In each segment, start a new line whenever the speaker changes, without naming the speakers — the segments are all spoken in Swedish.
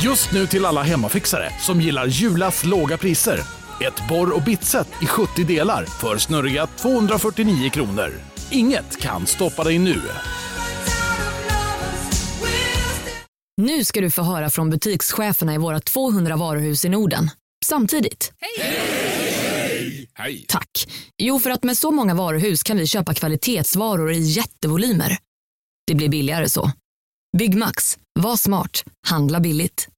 Just nu till alla hemmafixare som gillar Julas låga priser. Ett borr och bitset i 70 delar för snurriga 249 kronor. Inget kan stoppa dig nu.
Nu ska du få höra från butikscheferna i våra 200 varuhus i Norden. Samtidigt.
Hej!
Tack. Jo, för att med så många varuhus kan vi köpa kvalitetsvaror i jättevolymer. Det blir billigare så. Byggmax. Var smart. Handla billigt.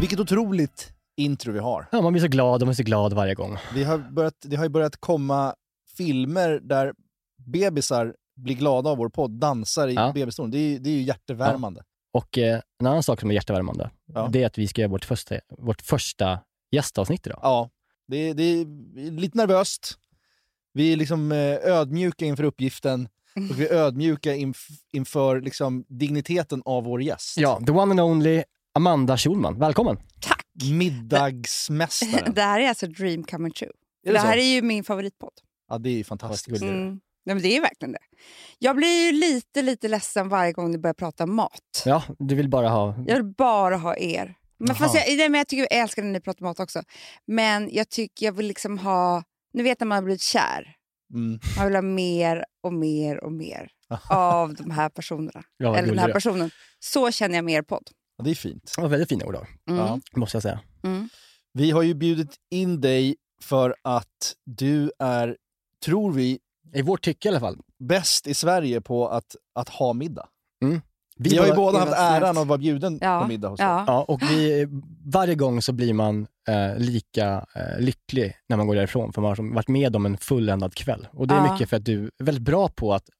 Vilket otroligt intro vi har.
Ja, man blir så glad och man blir så glad varje gång.
Vi har börjat, det har ju börjat komma filmer där bebisar blir glada av vår podd, dansar i
Ja.
bebisstolen. Det, är ju- det är ju hjärtevärmande.
Och eh, en annan sak som är hjärtevärmande,
Ja.
det är att vi ska göra vårt första, vårt första gästavsnitt idag.
Ja. Det, är- det är lite nervöst. Vi är liksom eh, ödmjuka inför uppgiften och vi är ödmjuka inf- inför liksom digniteten av vår gäst.
Ja, the one and only Amanda Schulman. Välkommen!
Tack!
Middagsmästaren.
Det här är alltså dream come true.
Är det
det, här
så?
är ju min favoritpodd.
Ja, det är ju fantastiskt.
Varsågod. Det är det.
Mm. Nej, men det är verkligen det. Jag blir ju lite, lite ledsen varje gång ni börjar prata mat.
Ja, du vill bara ha...
Jag vill bara ha er. Men fast jag, nej, men jag, tycker, jag älskar när ni pratar mat också. Men jag tycker jag vill liksom ha... Ni vet när man har blivit kär.
Mm.
Man vill ha mer och mer och mer av de här personerna.
Ja, vad
Eller den
gullig
här
du är.
personen. Så känner jag med er podd.
Ja, det är fint.
Det var väldigt fina ord då,
Mm.
Ja.
måste jag säga.
Mm.
Vi har ju bjudit in dig för att du är, tror vi,
I vårt tycke i alla fall.
bäst i Sverige på att, att ha middag. Vi, har ju
båda-
båda
Det
haft
var snällt.
äran att vara bjuden
Ja.
på middag hos dig.
Ja.
Ja, och vi, varje gång så blir man eh, lika eh, lycklig när man går därifrån, för man har som varit med om en fulländad kväll. Och det är
Ja.
mycket för att du är väldigt bra på att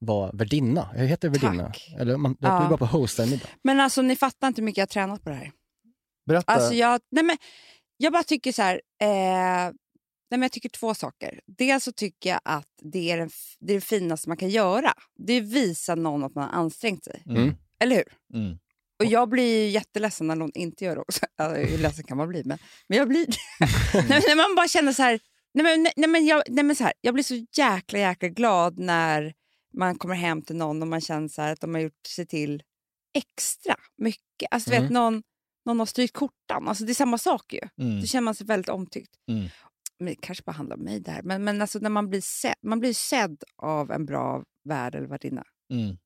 vara värdinna. Jag heter värdinna.
Tack.
Eller man,
Ja.
Du är bra på att hosta en middag.
Men alltså ni fattar inte hur mycket jag har tränat på det här.
Berätta.
Alltså jag, nej men, jag bara tycker så här... Eh, nej men jag tycker två saker. Dels så tycker jag att det är, den, f- det är det finaste man kan göra. Det är att visa någon att man har ansträngt sig.
Mm.
Eller hur?
Mm.
Och jag blir ju jätteledsen när någon inte gör det också. Alltså, hur ledsen kan man bli? Men, men jag blir nej, men När man bara känner så här... Nej men, nej, nej, men jag, nej men så här, jag blir så jäkla, jäkla glad när man kommer hem till någon och man känner så här att de har gjort sig till extra mycket. Alltså du
Mm.
vet, någon, någon har strykt kortan. Alltså det är samma sak ju.
Mm.
Då känner man sig väldigt omtyckt.
Mm.
Men det kanske bara handlar om mig där. Men, men alltså när man blir sedd, man blir sedd av en bra värd eller värdinna.
Mm.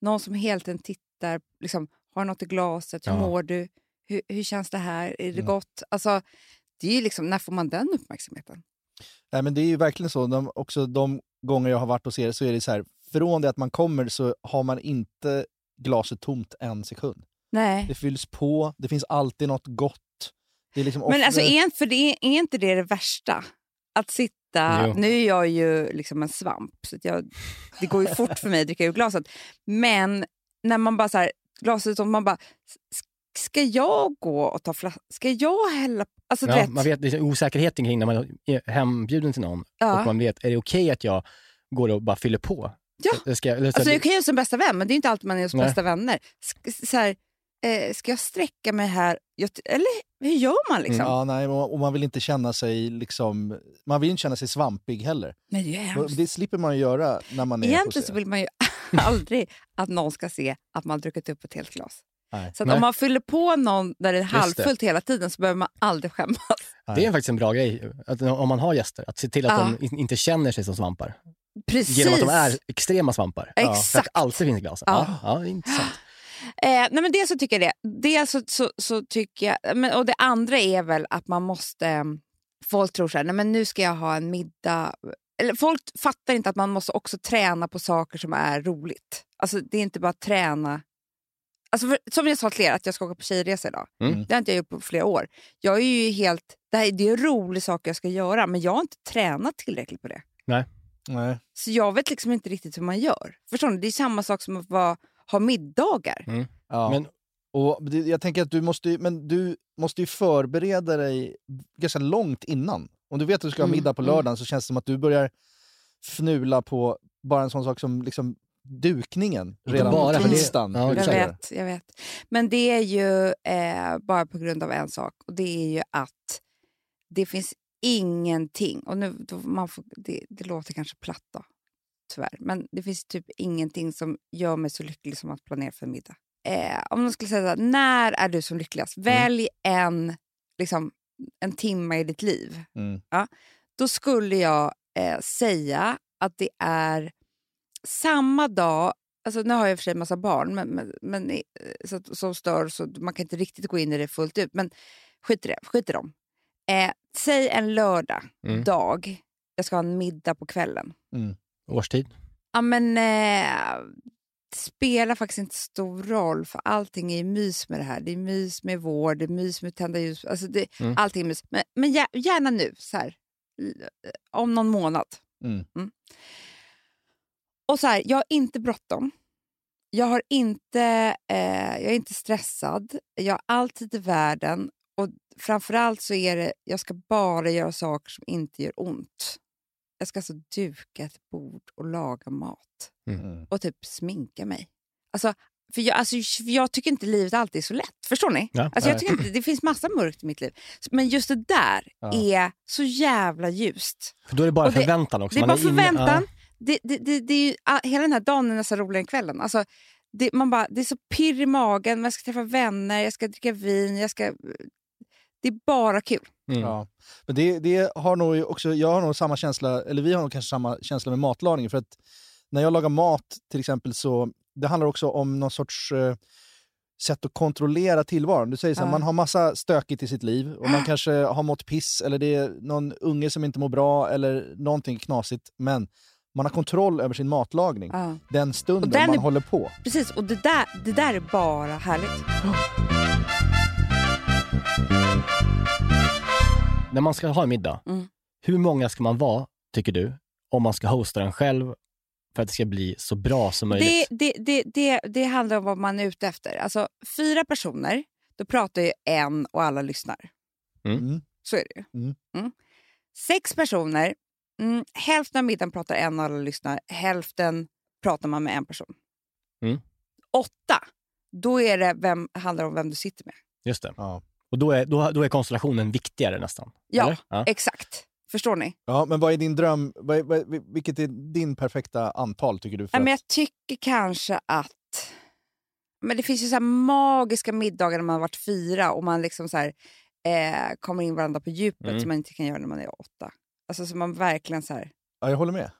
Någon som hela tiden tittar, liksom, har något i glaset, hur
Ja.
mår du? Hur, hur känns det här? Är det
Mm.
gott? Alltså, det är ju liksom, när får man den uppmärksamheten?
Nej, men det är ju verkligen så. De, också de gånger jag har varit hos er så är det så här, från det att man kommer så har man inte glaset tomt en sekund.
Nej.
Det fylls på, det finns alltid något gott. Det är liksom
Men
ofta-
alltså, är, inte- för det är, är inte det det värsta? Att sitta...
Jo.
Nu är jag ju liksom en svamp, så att jag, det går ju fort för mig att dricka ur glaset. Men när man bara så här, glaset och man bara... "S- Ska jag gå och ta flaskan? Ska jag hälla? på?" Alltså, du
Ja,
vet,
man vet det är osäkerheten kring när man är hembjuden till någon
ja.
och man vet, är det okej att jag går och bara fyller på?
Ja.
Jag Ska, eller så
Alltså,
här,
det är okej hos en bästa vän, men det är inte alltid man är hos
Nej.
bästa vänner. Sk- så här, eh, ska jag sträcka mig här? Jag, t- eller hur gör
Mm,
man? liksom?
Mm. Ja, nej, och och man vill inte känna sig liksom, man vill inte känna sig svampig heller.
Men det är ju
Och
hemskt.
Det slipper man ju göra när man är
Egentligen så
hos er.
vill man ju aldrig att någon ska se att man har druckit upp ett helt glas.
Nej.
Så att
Nej.
om man fyller på någon där det är
det.
halvfullt hela tiden så behöver man aldrig skämmas.
det är faktiskt en bra grej, att, om man har gäster, att se till att
Ja.
de in- inte känner sig som svampar.
Precis.
Genom att de är extrema svampar.
Ja,
För att
Exakt.
det alltid finns glas. Ja.
Ja.
Ja, det är intressant.
Eh, nej men dels så tycker jag det. Dels så, så, så tycker jag, men, och det andra är väl att man måste... eh, Folk tror så här, nej men nu ska jag ha en middag. Eller folk fattar inte att man måste också träna på saker som är roligt. Alltså det är inte bara träna. Alltså för, som jag sa till er, att jag ska åka på tjejresa idag.
Mm.
Det har inte jag gjort på flera år. Jag är ju helt... Det, här, det är ju roliga saker jag ska göra, men jag har inte tränat tillräckligt på det.
Nej.
Så jag vet liksom inte riktigt hur man gör. Förstår ni? Det är samma sak som att vara, ha middagar.
Ja.
Men-
och det, jag tänker att du måste, ju- men du måste ju förbereda dig ganska långt innan. Om du vet att du ska ha
Mm,
middag på
mm.
lördagen så känns det som att du börjar fnula på, bara en sån sak som liksom dukningen
Inte
redan
bara,
på
för det-
tisdagen.
ja,
hur du
Jag
exakt.
säger.
vet, jag vet. Men det är ju eh, bara på grund av en sak och det är ju att det finns ingenting, och nu, då man får, det, det låter kanske platt då, tyvärr, men det finns typ ingenting som gör mig så lycklig som att planera för en middag. Eh, om någon skulle säga så här, när är du som lyckligast?
Mm.
Välj en, liksom, en timme i ditt liv.
Mm.
Ja, då skulle jag eh, säga att det är samma dag Alltså, nu har jag i och för sig en massa barn men, men, men, eh, så, att- som stör, så man kan inte riktigt gå in i det fullt ut. Men skit i, det, skit i dem. Eh, säg en lördag,
Mm.
dag, jag ska ha en middag på kvällen.
Årstid.
Ja, men, eh, det spelar faktiskt inte stor roll, för allting är ju mys med det här. Det är mys med vår, det är mys med tända ljus. Alltså det,
Mm.
Allting är mys. Men, men gär- gärna nu, så här, l- eh, om någon månad.
Mm.
Och så här, jag har inte bråttom. Jag, har inte, eh, jag är inte stressad. Jag har all tid i världen. Och framförallt så är det, jag ska bara göra saker som inte gör ont. Jag ska alltså duka ett bord och laga mat.
Mm.
Och typ sminka mig. Alltså, för jag, alltså, jag tycker inte livet alltid är så lätt. Förstår ni?
Ja.
Alltså, jag
Nej.
tycker inte, det finns massa mörkt i mitt liv. Men just det där
Ja.
är så jävla ljust.
För då är det bara
Och det-
förväntan också.
Det är
Man
bara
inne- ja.
förväntan. Det, det, det, det är ju, ah, hela den här dagen är nästan roligare än kvällen. Alltså, det, man bara, det är så pirr i magen, men jag ska träffa vänner, jag ska dricka vin, jag ska... eh, Det är bara kul.
Mm.
Ja. Men det, det har nog också, jag har nog samma känsla, eller vi har nog kanske samma känsla med matlagning. För att när jag lagar mat till exempel så, det handlar också om någon sorts eh, sätt att kontrollera tillvaron. Du säger så här,
Ja. Ah!
man har massa stökigt i sitt liv och man kanske har mått piss eller det är någon unge som inte mår bra eller någonting knasigt. Men man har kontroll över sin matlagning
Mm.
Ja.
den stunden
Och den
man
är-
håller på.
Precis, och det där, det där är bara härligt.
När man ska ha en middag,
Mm.
hur många ska man vara, tycker du, om man ska hosta den själv för att det ska bli så bra som möjligt?
Det, det, det, det, det handlar om vad man är ute efter. Alltså, fyra personer, då pratar ju en och alla lyssnar.
Mm.
Mm.
Så är det ju.
Mm.
Mm. Sex personer, mm, hälften av middagen pratar en och alla lyssnar, hälften pratar man med en person.
Mm.
Åtta, då är det vem, handlar det om vem du sitter med.
Just det.
Ja.
Och då är, då, då är konstellationen viktigare nästan.
Ja,
eller? ja.
Exakt. Förstår ni?
Ja, men vad är din dröm? Vad är, vad är, vilket är din perfekta antal tycker du? För
Ja, men
att-
jag tycker kanske att... Men Det finns ju så här magiska middagar när man har varit fyra och man liksom så här, eh, kommer in varandra på djupet
Mm.
som man inte kan göra när man är åtta. Alltså så man verkligen så här...
Ja, jag håller med.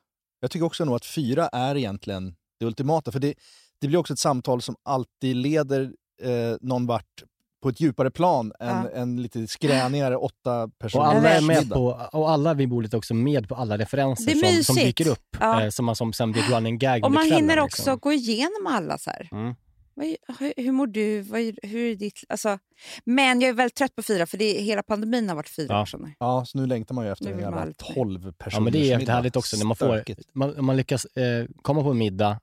Jag tycker också nog att fyra är egentligen det ultimata. För det, det blir också ett samtal som alltid leder eh, någon vart på ett djupare plan än
Ja.
en lite skränigare åtta personer.
Och alla, är
Jag vet.
med på, och alla vid bordet är också med på alla
Det
referenser
är
som,
mysigt.
som dyker upp.
Ja.
Eh, som man som sen blir ett running gag
Och
under
man
kvällen,
hinner också
Liksom.
gå igenom alla. så här.
Mm.
Vad, gör- hur, hur mår du? Vad, gör- hur är ditt... Alltså, men jag är väldigt trött på fyra, för det är, hela pandemin har varit fyra
Ja.
personer.
Ja, så nu längtar man ju efter
Nu
en
vill man
jävla
lite mer.
tolv personer.
Ja, men det är jättehärligt också när man får, man, om man lyckas eh, komma på en middag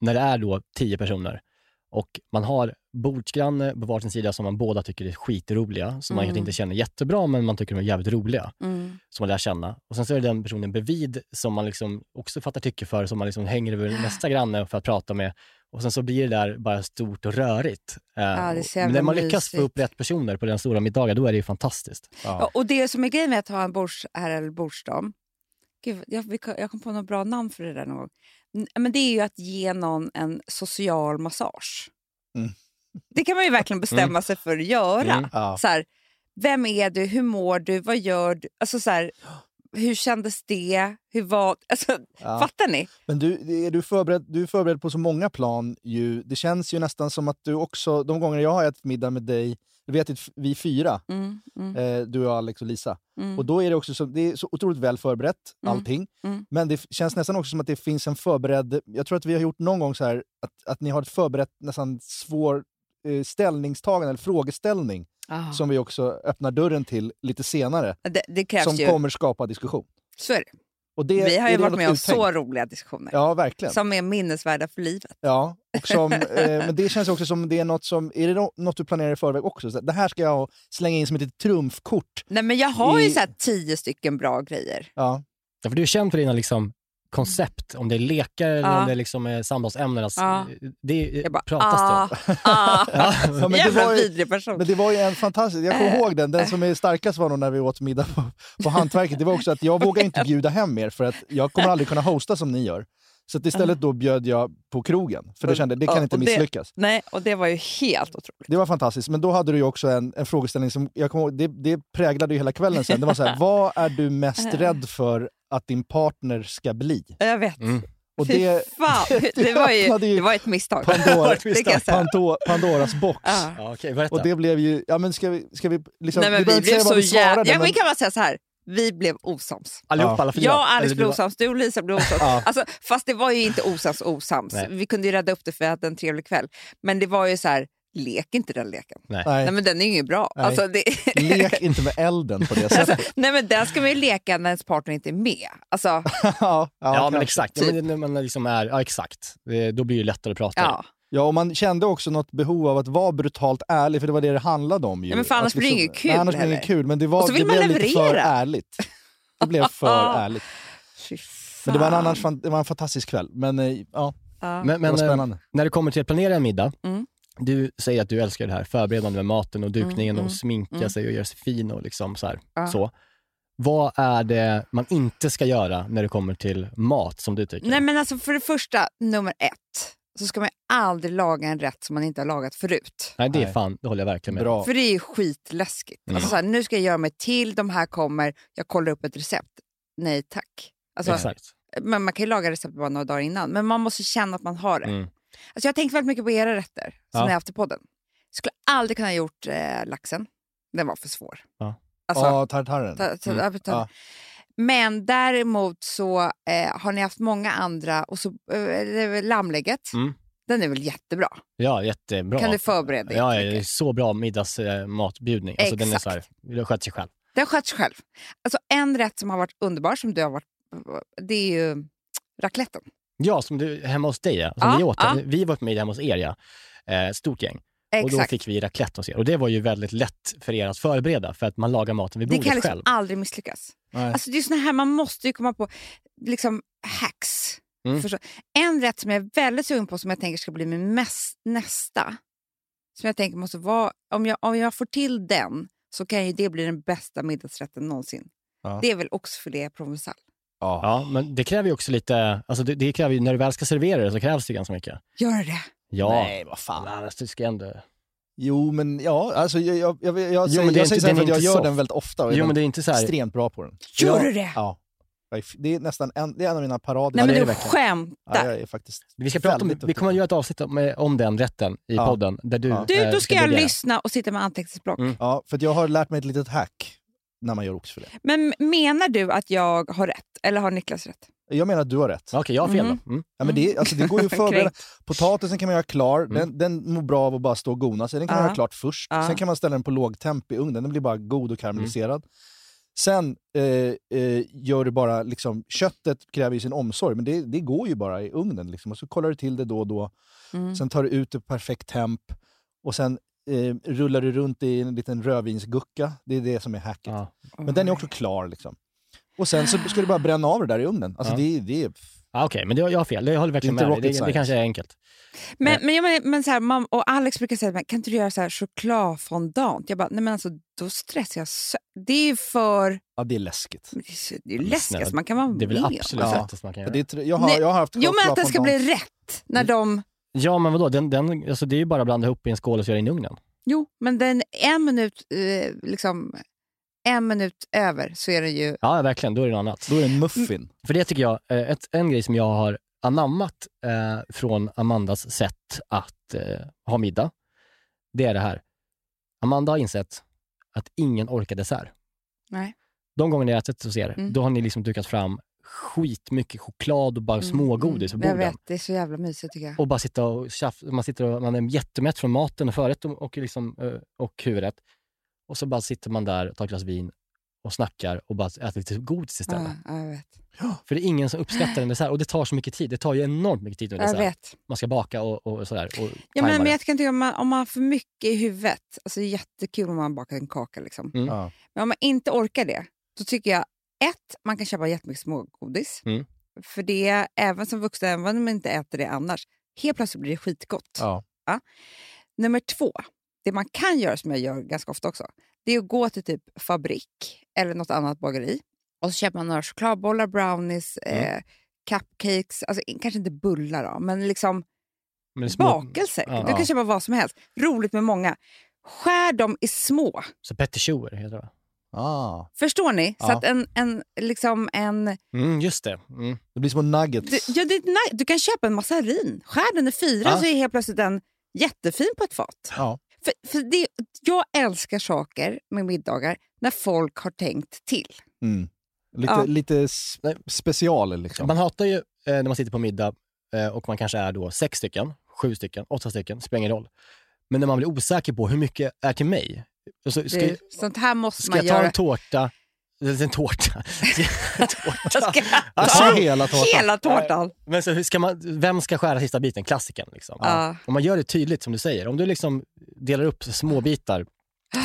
när det är då tio personer och man har bordsgranne på varsin sida som man båda tycker är skitroliga, som man
Mm.
kanske inte känner jättebra, men man tycker de är jävligt roliga,
Mm.
som man lär känna. Och sen så är det den personen bredvid som man liksom också fattar tycke för, som man liksom hänger över nästa granne för att prata med. Och sen så blir det där bara stort och rörigt. Eh,
det är så jävla
när man lyckas få
mysigt.
upp rätt personer på den stora middagen, då är det ju fantastiskt.
Ja, Och det som är grejen med att ha en bordsherre eller bordsdam, Gud, jag, vi kom- jag kom på något bra namn för det där någon gång. N- Men det är ju att ge någon en social massage.
Mm.
Det kan man ju verkligen bestämma sig för att göra.
Mm.
Ja.
Så här, vem är du? Hur mår du? Vad gör du? Alltså så här, hur kändes det? Hur var... Alltså,
Ja.
Fattar ni?
Men du, är du, förberedd, du är förberedd på så många plan. Ju. Det känns ju nästan som att du också, de gånger jag har ätit middag med dig, vi har ätit vi fyra,
Mm, mm,
eh, du och Alex och Lisa.
mm.
Och då är det också så, det är så otroligt väl förberett,
Mm.
allting.
Mm.
Men det f- känns nästan också som att det finns en förberedd... Jag tror att vi har gjort någon gång så här att, att ni har ett förberett nästan svår eh, ställningstagande eller frågeställning
Ah.
som vi också öppnar dörren till lite senare.
det, det krävs
Som
ju.
kommer skapa diskussion.
Så är det.
Och det,
Vi har
är
ju
det
varit
något
med om
uttänkt?
så roliga diskussioner
Ja, verkligen.
som är minnesvärda för livet.
Ja, och som, eh, men det känns också som det är något som... Är det nå- något du planerar i förväg också? Så här, det här ska jag slänga in som ett litet trumfkort.
Nej, men jag har ju
I-
så här tio stycken bra grejer.
Ja,
Ja, för du är känd för dina liksom, koncept, om det är lekar eller
Ja.
om det liksom är samtalsämnen. Alltså,
Ja.
Det
Jag bara,
pratas det om.
ah, ah.
Ja, men det
Jävla
var ju-
vidrig person.
Men det var ju en fantastisk... Jag kommer ihåg den. Den som är starkast var nog när vi åt middag på, på Hantverket. Det var också att jag vågar inte bjuda hem er för att jag kommer aldrig kunna hosta som ni gör. Så att istället då bjöd jag på krogen, för det kände det
Ja,
kan inte
och det-
misslyckas.
Nej, och det var ju helt otroligt.
Det var fantastiskt, men då hade du ju också en, en frågeställning som jag kommer ihåg, det, det präglade ju hela kvällen sen. Det var så här, vad är du mest rädd för att din partner ska bli?
Jag vet.
Mm.
Och
Fy
det
fan, det var ju,
öppnade ju
det var ett misstag.
Pandora,
Det kan jag säga.
Panto, Pandoras box.
Ja.
Ja, okej, berätta.
Och det blev ju, ja men ska vi, ska vi liksom,
Nej,
du behöver
men vi blev
inte säga
så
vad vi
jävla...
svarade.
Ja, men
men,
vi kan bara säga så här, vi blev osams.
Allihopa,
Ja.
alla fyra.
Jag och Alice
Eller
blev
du bara-
osams, du och Lisa blev osams. Alltså, fast det var ju inte osams osams.
Nej.
Vi kunde ju rädda upp det för att hade en trevlig kväll. Men det var ju så här, lek inte den leken.
nej,
Nej, men den är ju ingen bra.
Nej.
Alltså, det...
lek inte med elden på det
Alltså,
sättet.
nej men den ska man ju leka när ens partner inte är med. Alltså,
ja,
Ja,
ja,
men
kanske.
exakt. Ja, men när man liksom är, ja, exakt. Det- Då blir det lättare att prata.
Typ. ja.
ja, och man kände också något behov av att vara brutalt ärlig, för det var det det handlade om. Ju.
Ja, men för annars
Att liksom-
blir det inget kul
Nej, annars blir det inget
heller.
kul, men det, var,
Och så vill
det
man
blev lite för
leverera.
ärligt. Det blev för ärligt.
Fy fan.
Men det var, en annan, fan- det var en fantastisk kväll. Men eh, ja,
Ja.
Men,
det
men
var
eh,
spännande.
när det kommer till att planera en middag,
Mm.
du säger att du älskar det här förberedande med maten och dukningen
Mm,
och
mm,
sminka
mm.
sig och göra sig fin och liksom så här.
Ja.
Så. Vad är det man inte ska göra när det kommer till mat som du tycker?
Nej men alltså för det första, nummer ett, så ska man ju aldrig laga en rätt som man inte har lagat förut.
Nej, det är
Nej.
fan, det håller jag verkligen med om.
Bra.
För det är ju skitläskigt.
Mm.
Alltså så här, nu ska jag göra mig till, de här kommer, jag kollar upp ett recept. Nej tack. Alltså,
Exakt.
men man kan ju laga recept bara några dagar innan, men man måste känna att man har det.
Mm.
Alltså, jag har tänkt väldigt mycket på era rätter som
Ja.
ni har haft i podden. Jag skulle aldrig kunna ha gjort eh, laxen, den var för svår.
Ja.
Alltså,
Ja, tartaren.
Ta, ta,
Mm.
ja, ta.
Ja.
Men däremot så eh, har ni haft många andra, och så eh, det är väl lammlägget,
Mm.
den är väl jättebra?
Ja, jättebra.
Kan du förbereda dig?
Ja, ja, det är
jättemycket?
så bra middagsmatbjudning. Alltså, den är så här,
Exakt.
den sköter sig själv.
Den sköts själv. Alltså en rätt som har varit underbar, som du har varit, eh, det är ju racletten.
Ja, som du, hemma hos dig ja. Som
Ja,
vi åt.
ja.
Vi var på middag hemma hos er ja. Eh, stort gäng. Och då
Exakt.
fick vi raclette hos er. Och det var ju väldigt lätt för er att förbereda för att man lagar maten vid
det
bordet
kan liksom
själv.
aldrig misslyckas.
Nej.
Alltså det är såna här, man måste ju komma på liksom hacks.
Mm.
Förstå- En rätt som jag är väldigt sugen på som jag tänker ska bli min mest, nästa, som jag tänker måste vara, om jag, om jag får till den så kan ju det bli den bästa middagsrätten någonsin.
Ja.
Det är väl oxfilé provençal.
Ja.
Ja, men det kräver ju också lite, alltså det, det kräver ju, när du väl ska servera det så krävs det ganska mycket.
Gör det?
Ja.
Nej, vad fan.
Annars du ska ändå...
Jo, men ja, alltså, jag, jag, jag, jag,
Jo,
säger,
men det är
jag säger
inte-
så här
den är
för att jag
inte
gör
soft.
den väldigt ofta och är
Jo, men
väldigt
det är inte så här...
extreligt bra på den.
Gör
Ja.
du det?
Ja. Jag är f- Det är nästan en, det är en av mina parader.
Nej
Ja, det är
men du
det verkligen. Ja,
skämtar.
jag är faktiskt
Vi, ska prata om,
väldigt
vi kommer att göra ett avsnitt om, eh, om den rätten i
Ja.
podden. Där du,
Ja.
Du,
eh,
då ska jag
brodera.
lyssna och sitta med anteckningsblock.
Mm.
Ja, för att jag har lärt mig ett litet hack när man gör oxfilé.
Men menar du att jag har rätt? Eller har Niklas rätt?
Jag menar att du har rätt.
Okej, jag har fel
Mhm.
då. Mm.
Ja, men det, alltså, det går ju att förbereda. Potatisen kan man göra klar.
Mm.
Den, den mår bra av att bara stå och gona sig. Den kan man
Ja.
göra klart först.
Ja.
Sen kan man ställa den på låg temp i ugnen. Den blir bara god och karamelliserad.
Mm.
Sen eh, eh, gör du bara liksom, köttet kräver ju sin omsorg, men det, det går ju bara i ugnen. Liksom. Och så kollar du till det då och då.
Mm.
Sen tar du ut det på perfekt temp. Och sen eh, rullar du runt i en liten rödvinsgucka. Det är det som är hacket.
Ja.
Men den är också klar. Liksom. Och sen så ska du bara bränna av det där i ugnen. Alltså,
Ja.
det, det är...
Ja, Ah, Okej, men det, jag har fel. Jag håller verkligen
Det är inte
med dig.
rocket
Det,
science.
det kanske är enkelt.
Men, men, jag menar, men så här, mam- och Alex brukar säga men kan inte du göra så här chokladfondant? Jag bara, nej men alltså då stressar jag sö- Det är ju för...
Ja, det är läskigt.
Det är så- det är
Men snälla,
läskigt, man kan vara
Det är väl
med om.
absolut
Ja.
lättast man kan
Ja,
göra.
Det är, tr- jag, har,
Nej,
jag har haft
Jo men att den
choklad
ska
fondant.
bli rätt när
Mm.
de...
Ja, men vadå? Den, den, alltså det är ju bara att blanda ihop i en skål och så göra in i ugnen.
Jo, men den en minut, eh, liksom, en minut över så är den ju...
Ja, verkligen. Då är det något annat.
Då är det en muffin.
För det tycker jag, eh, ett, en grej som jag har anammat eh, från Amandas sätt att eh, ha middag, det är det här. Amanda har insett att ingen orkar dessert.
Nej.
De gånger ni har ätit hos er,
Mm.
då har ni liksom dukat fram skitmycket choklad och bara
Mm,
smågodis på
mm,
borden.
Jag vet, det är så jävla mysigt tycker jag.
och bara sitta och tjaf, man, sitter och, man är jättemätt från maten och förrätt och, och, liksom, eh, och huvudrätt. Och så bara sitter man där och tar ett glas vin och snackar och bara äter lite godis istället.
ja, ja, jag vet.
För det är ingen som uppskattar en dessert och det tar så mycket tid. Det tar ju enormt mycket tid med
Jag
dessert.
vet.
Man ska baka och, och sådär. Och
Ja,
tajma
men, men
det.
jag kan tycka om man, om man har för mycket i huvudet, alltså det är jättekul om man bakar en kaka liksom.
Mm.
Ja.
Men om man inte orkar det, då tycker jag ett, man kan köpa jättemycket smågodis.
Mm.
För det, även som vuxen, även om man inte äter det annars, helt plötsligt blir det skitgott.
Ja.
Nummer två, det man kan göra som jag gör ganska ofta också, det är att gå till typ fabrik eller något annat bageri och så köper man några chokladbollar, brownies,
Mm.
eh, cupcakes, alltså i- kanske inte bullar då, men liksom
Men små-
bakelser.
Ja.
Du kan köpa vad som helst. Roligt med många. Skär dem i små.
Så petitioer heter det.
Ah.
Förstår ni? Så
Ja.
att en, en, liksom en,
Mm, just det. Mm.
Det blir små nuggets.
du, ja, det är nice. du kan köpa en massarin. Skär den i fyra
Ja.
så är helt plötsligt den jättefin på ett fat.
Ja.
För, för det, jag älskar saker med middagar när folk har tänkt till.
Mm. Lite,
Ja.
lite s- special liksom.
Man hatar ju eh, när man sitter på middag eh, och man kanske är då sex stycken, sju stycken, åtta stycken, spelar ingen roll. Men när man blir osäker på hur mycket är till mig. Så ska,
Det, sånt här måste
ska
man
jag ta
göra.
en tårta? eller En tårta? Ska jag- tårta.
Ska jag
Alltså,
ta
hela tårtan.
Hela tårtan.
Men så, hur ska man, vem ska skära sista biten? Klassiken. Liksom.
Ja.
Om man gör det tydligt som du säger, om du liksom delar upp små bitar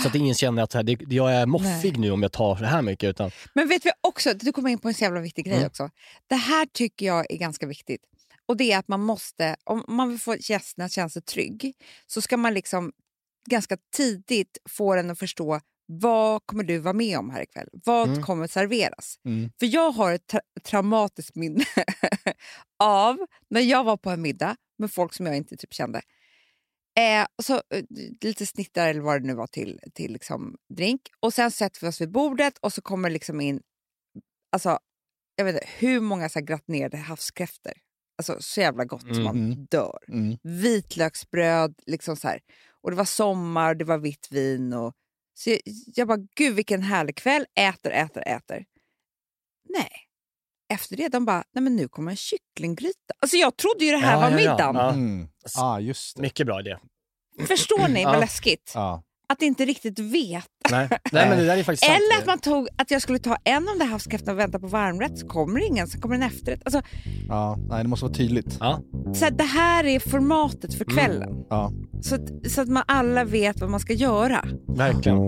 så att ingen känner att så här, det- jag är moffig nu om jag tar så här mycket. Utan,
Men vet vi också, du kommer in på en så jävla viktig grej
Mm.
också. Det här tycker jag är ganska viktigt. Och det är att man måste, om man vill få gästen att känna sig trygg, så ska man liksom ganska tidigt få den att förstå vad kommer du vara med om här ikväll? Vad
Mm.
kommer serveras?
Mm.
För jag har ett tra- traumatiskt minne av när jag var på en middag med folk som jag inte typ kände. Eh, och så eh, lite snittar eller vad det nu var till, till liksom drink. Och sen sätter vi oss vid bordet och så kommer liksom in, alltså jag vet inte hur många så här gratinerade havskräftor. Alltså så jävla gott som man
Mm.
dör.
Mm.
Vitlöksbröd, liksom så här. Och det var sommar, det var vitt vin och så jag, jag bara, gud vilken härlig kväll. Äter, äter, äter. Nej. Efter det, de bara, nej men nu kommer en kycklinggryta. Alltså jag trodde ju det här
Ja,
var
ja, ja.
middagen.
Ja.
Mm. Ah, just det.
mycket bra idé.
Förstår ni vad
Ja.
läskigt?
Ja.
Att inte riktigt veta.
Nej. Nej, men det där är faktiskt sant.
Eller att man tog att jag skulle ta en av de där havskräftorna och vänta på varmrätt, så kommer det ingen, så kommer en efterrätt. Alltså,
Ja. Nej, det måste vara tydligt.
så här, det här är formatet
Mm.
för kvällen.
Ja.
Så, att, så att man alla vet vad man ska göra.
Verkligen.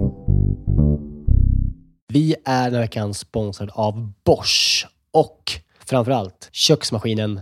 Vi är den här veckan sponsrad av Bosch och framförallt köksmaskinen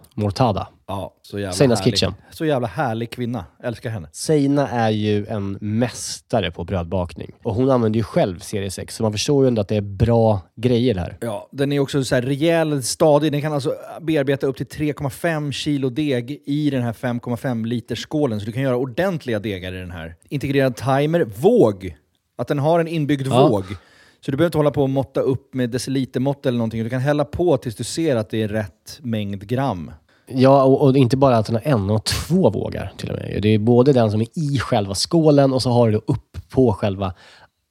Mortada.
Ja, så jävla
Seinas
härlig.
Kitchen.
Så jävla härlig kvinna. Älskar henne.
Seina är ju en mästare på brödbakning och hon använder ju själv serie 6 så man förstår ju ändå att det är bra grejer här.
Ja, den är också så här rejäl, stadig. Den kan alltså bearbeta upp till 3,5 kilo deg i den här 5,5 liters skålen. Så du kan göra ordentliga degar i den här. Integrerad timer, våg. Att den har en inbyggd
Ja.
våg. Så du behöver inte hålla på och måtta upp med decilitermått eller någonting. Du kan hälla på tills du ser att det är rätt mängd gram.
Ja, och, och inte bara att den har en och två vågar till och med. Det är både den som är i själva skålen och så har du då upp på själva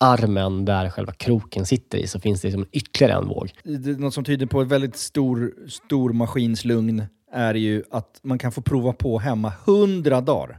armen där själva kroken sitter i så finns det liksom ytterligare en våg.
det, något som tyder på ett väldigt stor, stor maskinslugn är ju att man kan få prova på hemma 100 dagar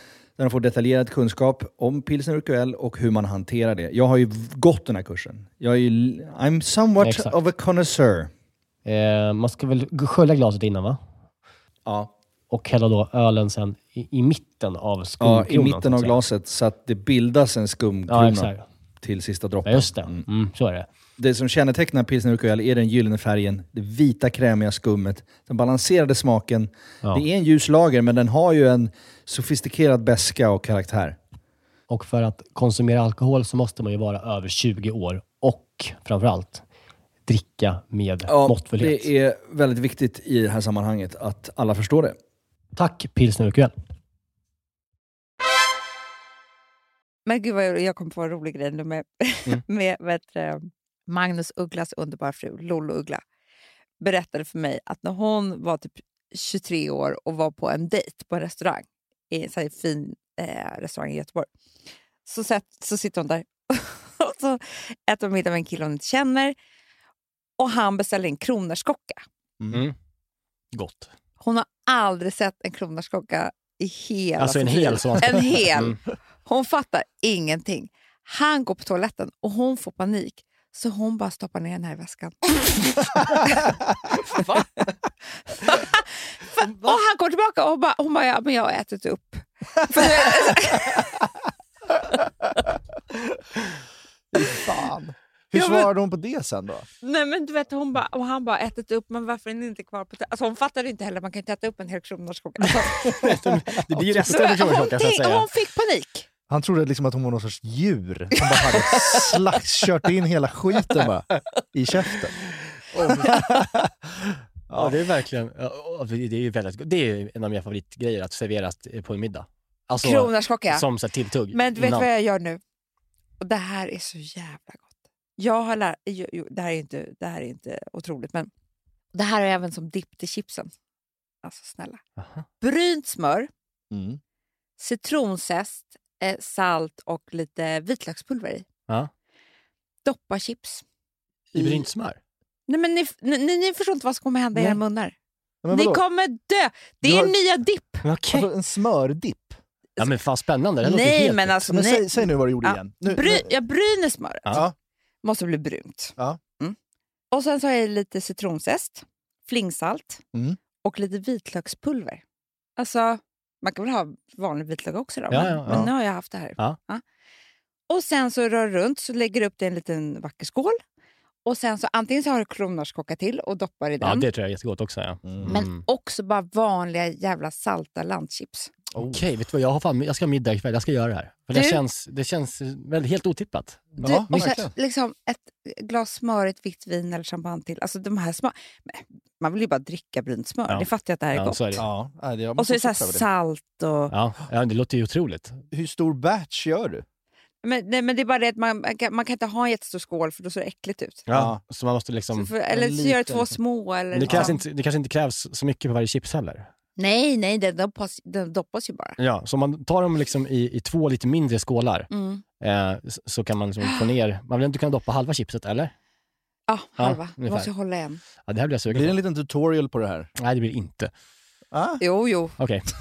Där de får detaljerad kunskap om pilsner och QL och hur man hanterar det. Jag har ju gått den här kursen. Jag är ju, I'm somewhat
Exakt.
of a connoisseur.
Eh, man ska väl g- skölja glaset innan va?
Ja,
Och hälla då ölen sen i, i mitten av
ja,
skumkronan.
I mitten
så att
av
säga.
glaset så att det bildas en skumkrona
Ja, exakt.
till sista
Ja,
droppen.
just det. Mm, så är det.
Det som kännetecknar pilsner och är den gyllene färgen, det vita krämiga skummet, den balanserade smaken.
Ja.
Det är en ljus lager, men den har ju en sofistikerad beska och karaktär.
Och för att konsumera alkohol så måste man ju vara över 20 år och framförallt dricka med måttfullhet.
det är väldigt viktigt i det här sammanhanget att alla förstår det.
Tack Pilsner och QL.
Men gud vad jag, jag kom på en rolig grej nu med, med vad heter det, Magnus Ugglas underbara fru Lollo Uggla. Berättade för mig att när hon var typ 23 år och var på en dejt på en restaurang, i en sån här fin eh, restaurang i Göteborg, så, sätt, så sitter hon där och så äter hon middag med en kille hon inte känner och han beställer en kronärtskocka.
Gott.
Hon har aldrig sett en kronärtskocka i hela
Alltså en
sitt liv.
hel sån.
En hel.
Mm.
Hon fattar ingenting. Han går på toaletten och hon får panik. Så hon bara stoppar ner den här i väskan. Va? och han kommer tillbaka och bara, hon bara, ja, men jag har ätit upp. För det-
Fan. Hur
Ja, men-
svarade hon på det sen då?
Nej men du vet, hon bara, och han bara ätit upp, men varför är den inte kvar på toaletten? Alltså, hon fattar inte heller, man kan inte äta upp en hel kronärtskocka. Alltså,
Det blir ju resten av
hon,
personligheten så att
tänk- hon
säga.
fick panik.
Han trodde liksom att hon var någon sorts djur som bara hade slags, kört in hela skiten bara, i käften.
Ja, det är verkligen, ja, det är ju väldigt gott. Det är ju en av mina favoritgrejer att serveras på en middag. Alltså,
Kronärtskocka.
som så här tilltugg.
Men du vet
innan.
vad jag gör nu? Och det här är så jävla gott. Jag har lär... jo, jo, det, här är inte, det här är inte otroligt, men det här är även som dipp till chipsen. Alltså snälla.
Aha.
Brynt smör,
Mm.
citronzest, eh, salt och lite vitlökspulver i.
Ja.
Doppa chips.
I brynt smör?
Nej, men ni, ni, ni, ni förstår inte vad som kommer hända i era
Nej.
munnar.
Men
ni
vadå?
kommer dö! Det
Du
är
har-
nya dipp!
Men Okej.
Alltså en smördipp?
ja men fan spännande. Det här låter
Nej,
helt...
men alltså...
Så, men
nej.
säg, säg nu vad du gjorde
Ja.
igen. Nu,
Bry,
nu.
jag bryner smöret.
Ja.
måste bli brunt.
Ja.
Mm. Och sen så har jag lite citronzest, flingsalt
Mm.
och lite vitlökspulver. Alltså, Man kan väl ha vanlig vitlök också då?
Ja,
men-
ja,
men
ja.
nu har jag haft det här.
Ja.
Och sen så rör runt, så lägger du upp det i en liten vacker skål. Och sen så antingen så har du kronärtskocka till och doppar i den.
Ja, det tror jag är jättegott också. Ja.
Men också bara vanliga jävla salta landchips.
Okej, vet du vad? Jag, har fan, jag ska ha middag ikväll. Jag ska göra det här. För det,
Du-
känns, det känns eh, väl helt otippat.
Du,
Ja,
och sen,
verkligen.
liksom ett glas smörigt vitt vin eller champagne till. Alltså de här smör... Men, Man vill ju bara dricka brynt smör.
Ja.
Det fattar jag att det här är
Ja,
gott.
så är det.
Mm. Ja, nej, det- jag
Och så
måste
är det så
titta
här
på det.
salt och...
Ja, ja, det låter ju otroligt.
Hur stor batch gör du?
Men, nej, men det är bara det att man, man, kan, man kan inte ha en jättestor skål för då ser det äckligt ut.
Ja. Så man måste
Så
liksom...
för, eller så
liten
gör det två
liksom.
små. Eller
Det krävs,
liksom.
inte, det kanske inte krävs så mycket på varje chips heller.
Nej, nej, den doppas, den doppas ju bara.
Ja, så om man tar dem liksom i, i två lite mindre skålar
Mm.
eh, s- så kan man liksom få ner... Man vill inte kunna doppa halva chipset, eller?
Ja,
Ja,
halva. du
ungefär.
måste ju hålla en.
Ja, det här blir jag sugen
Blir det
på.
en liten tutorial på det här?
Nej, det blir det inte.
Ah?
Jo, jo.
Okej.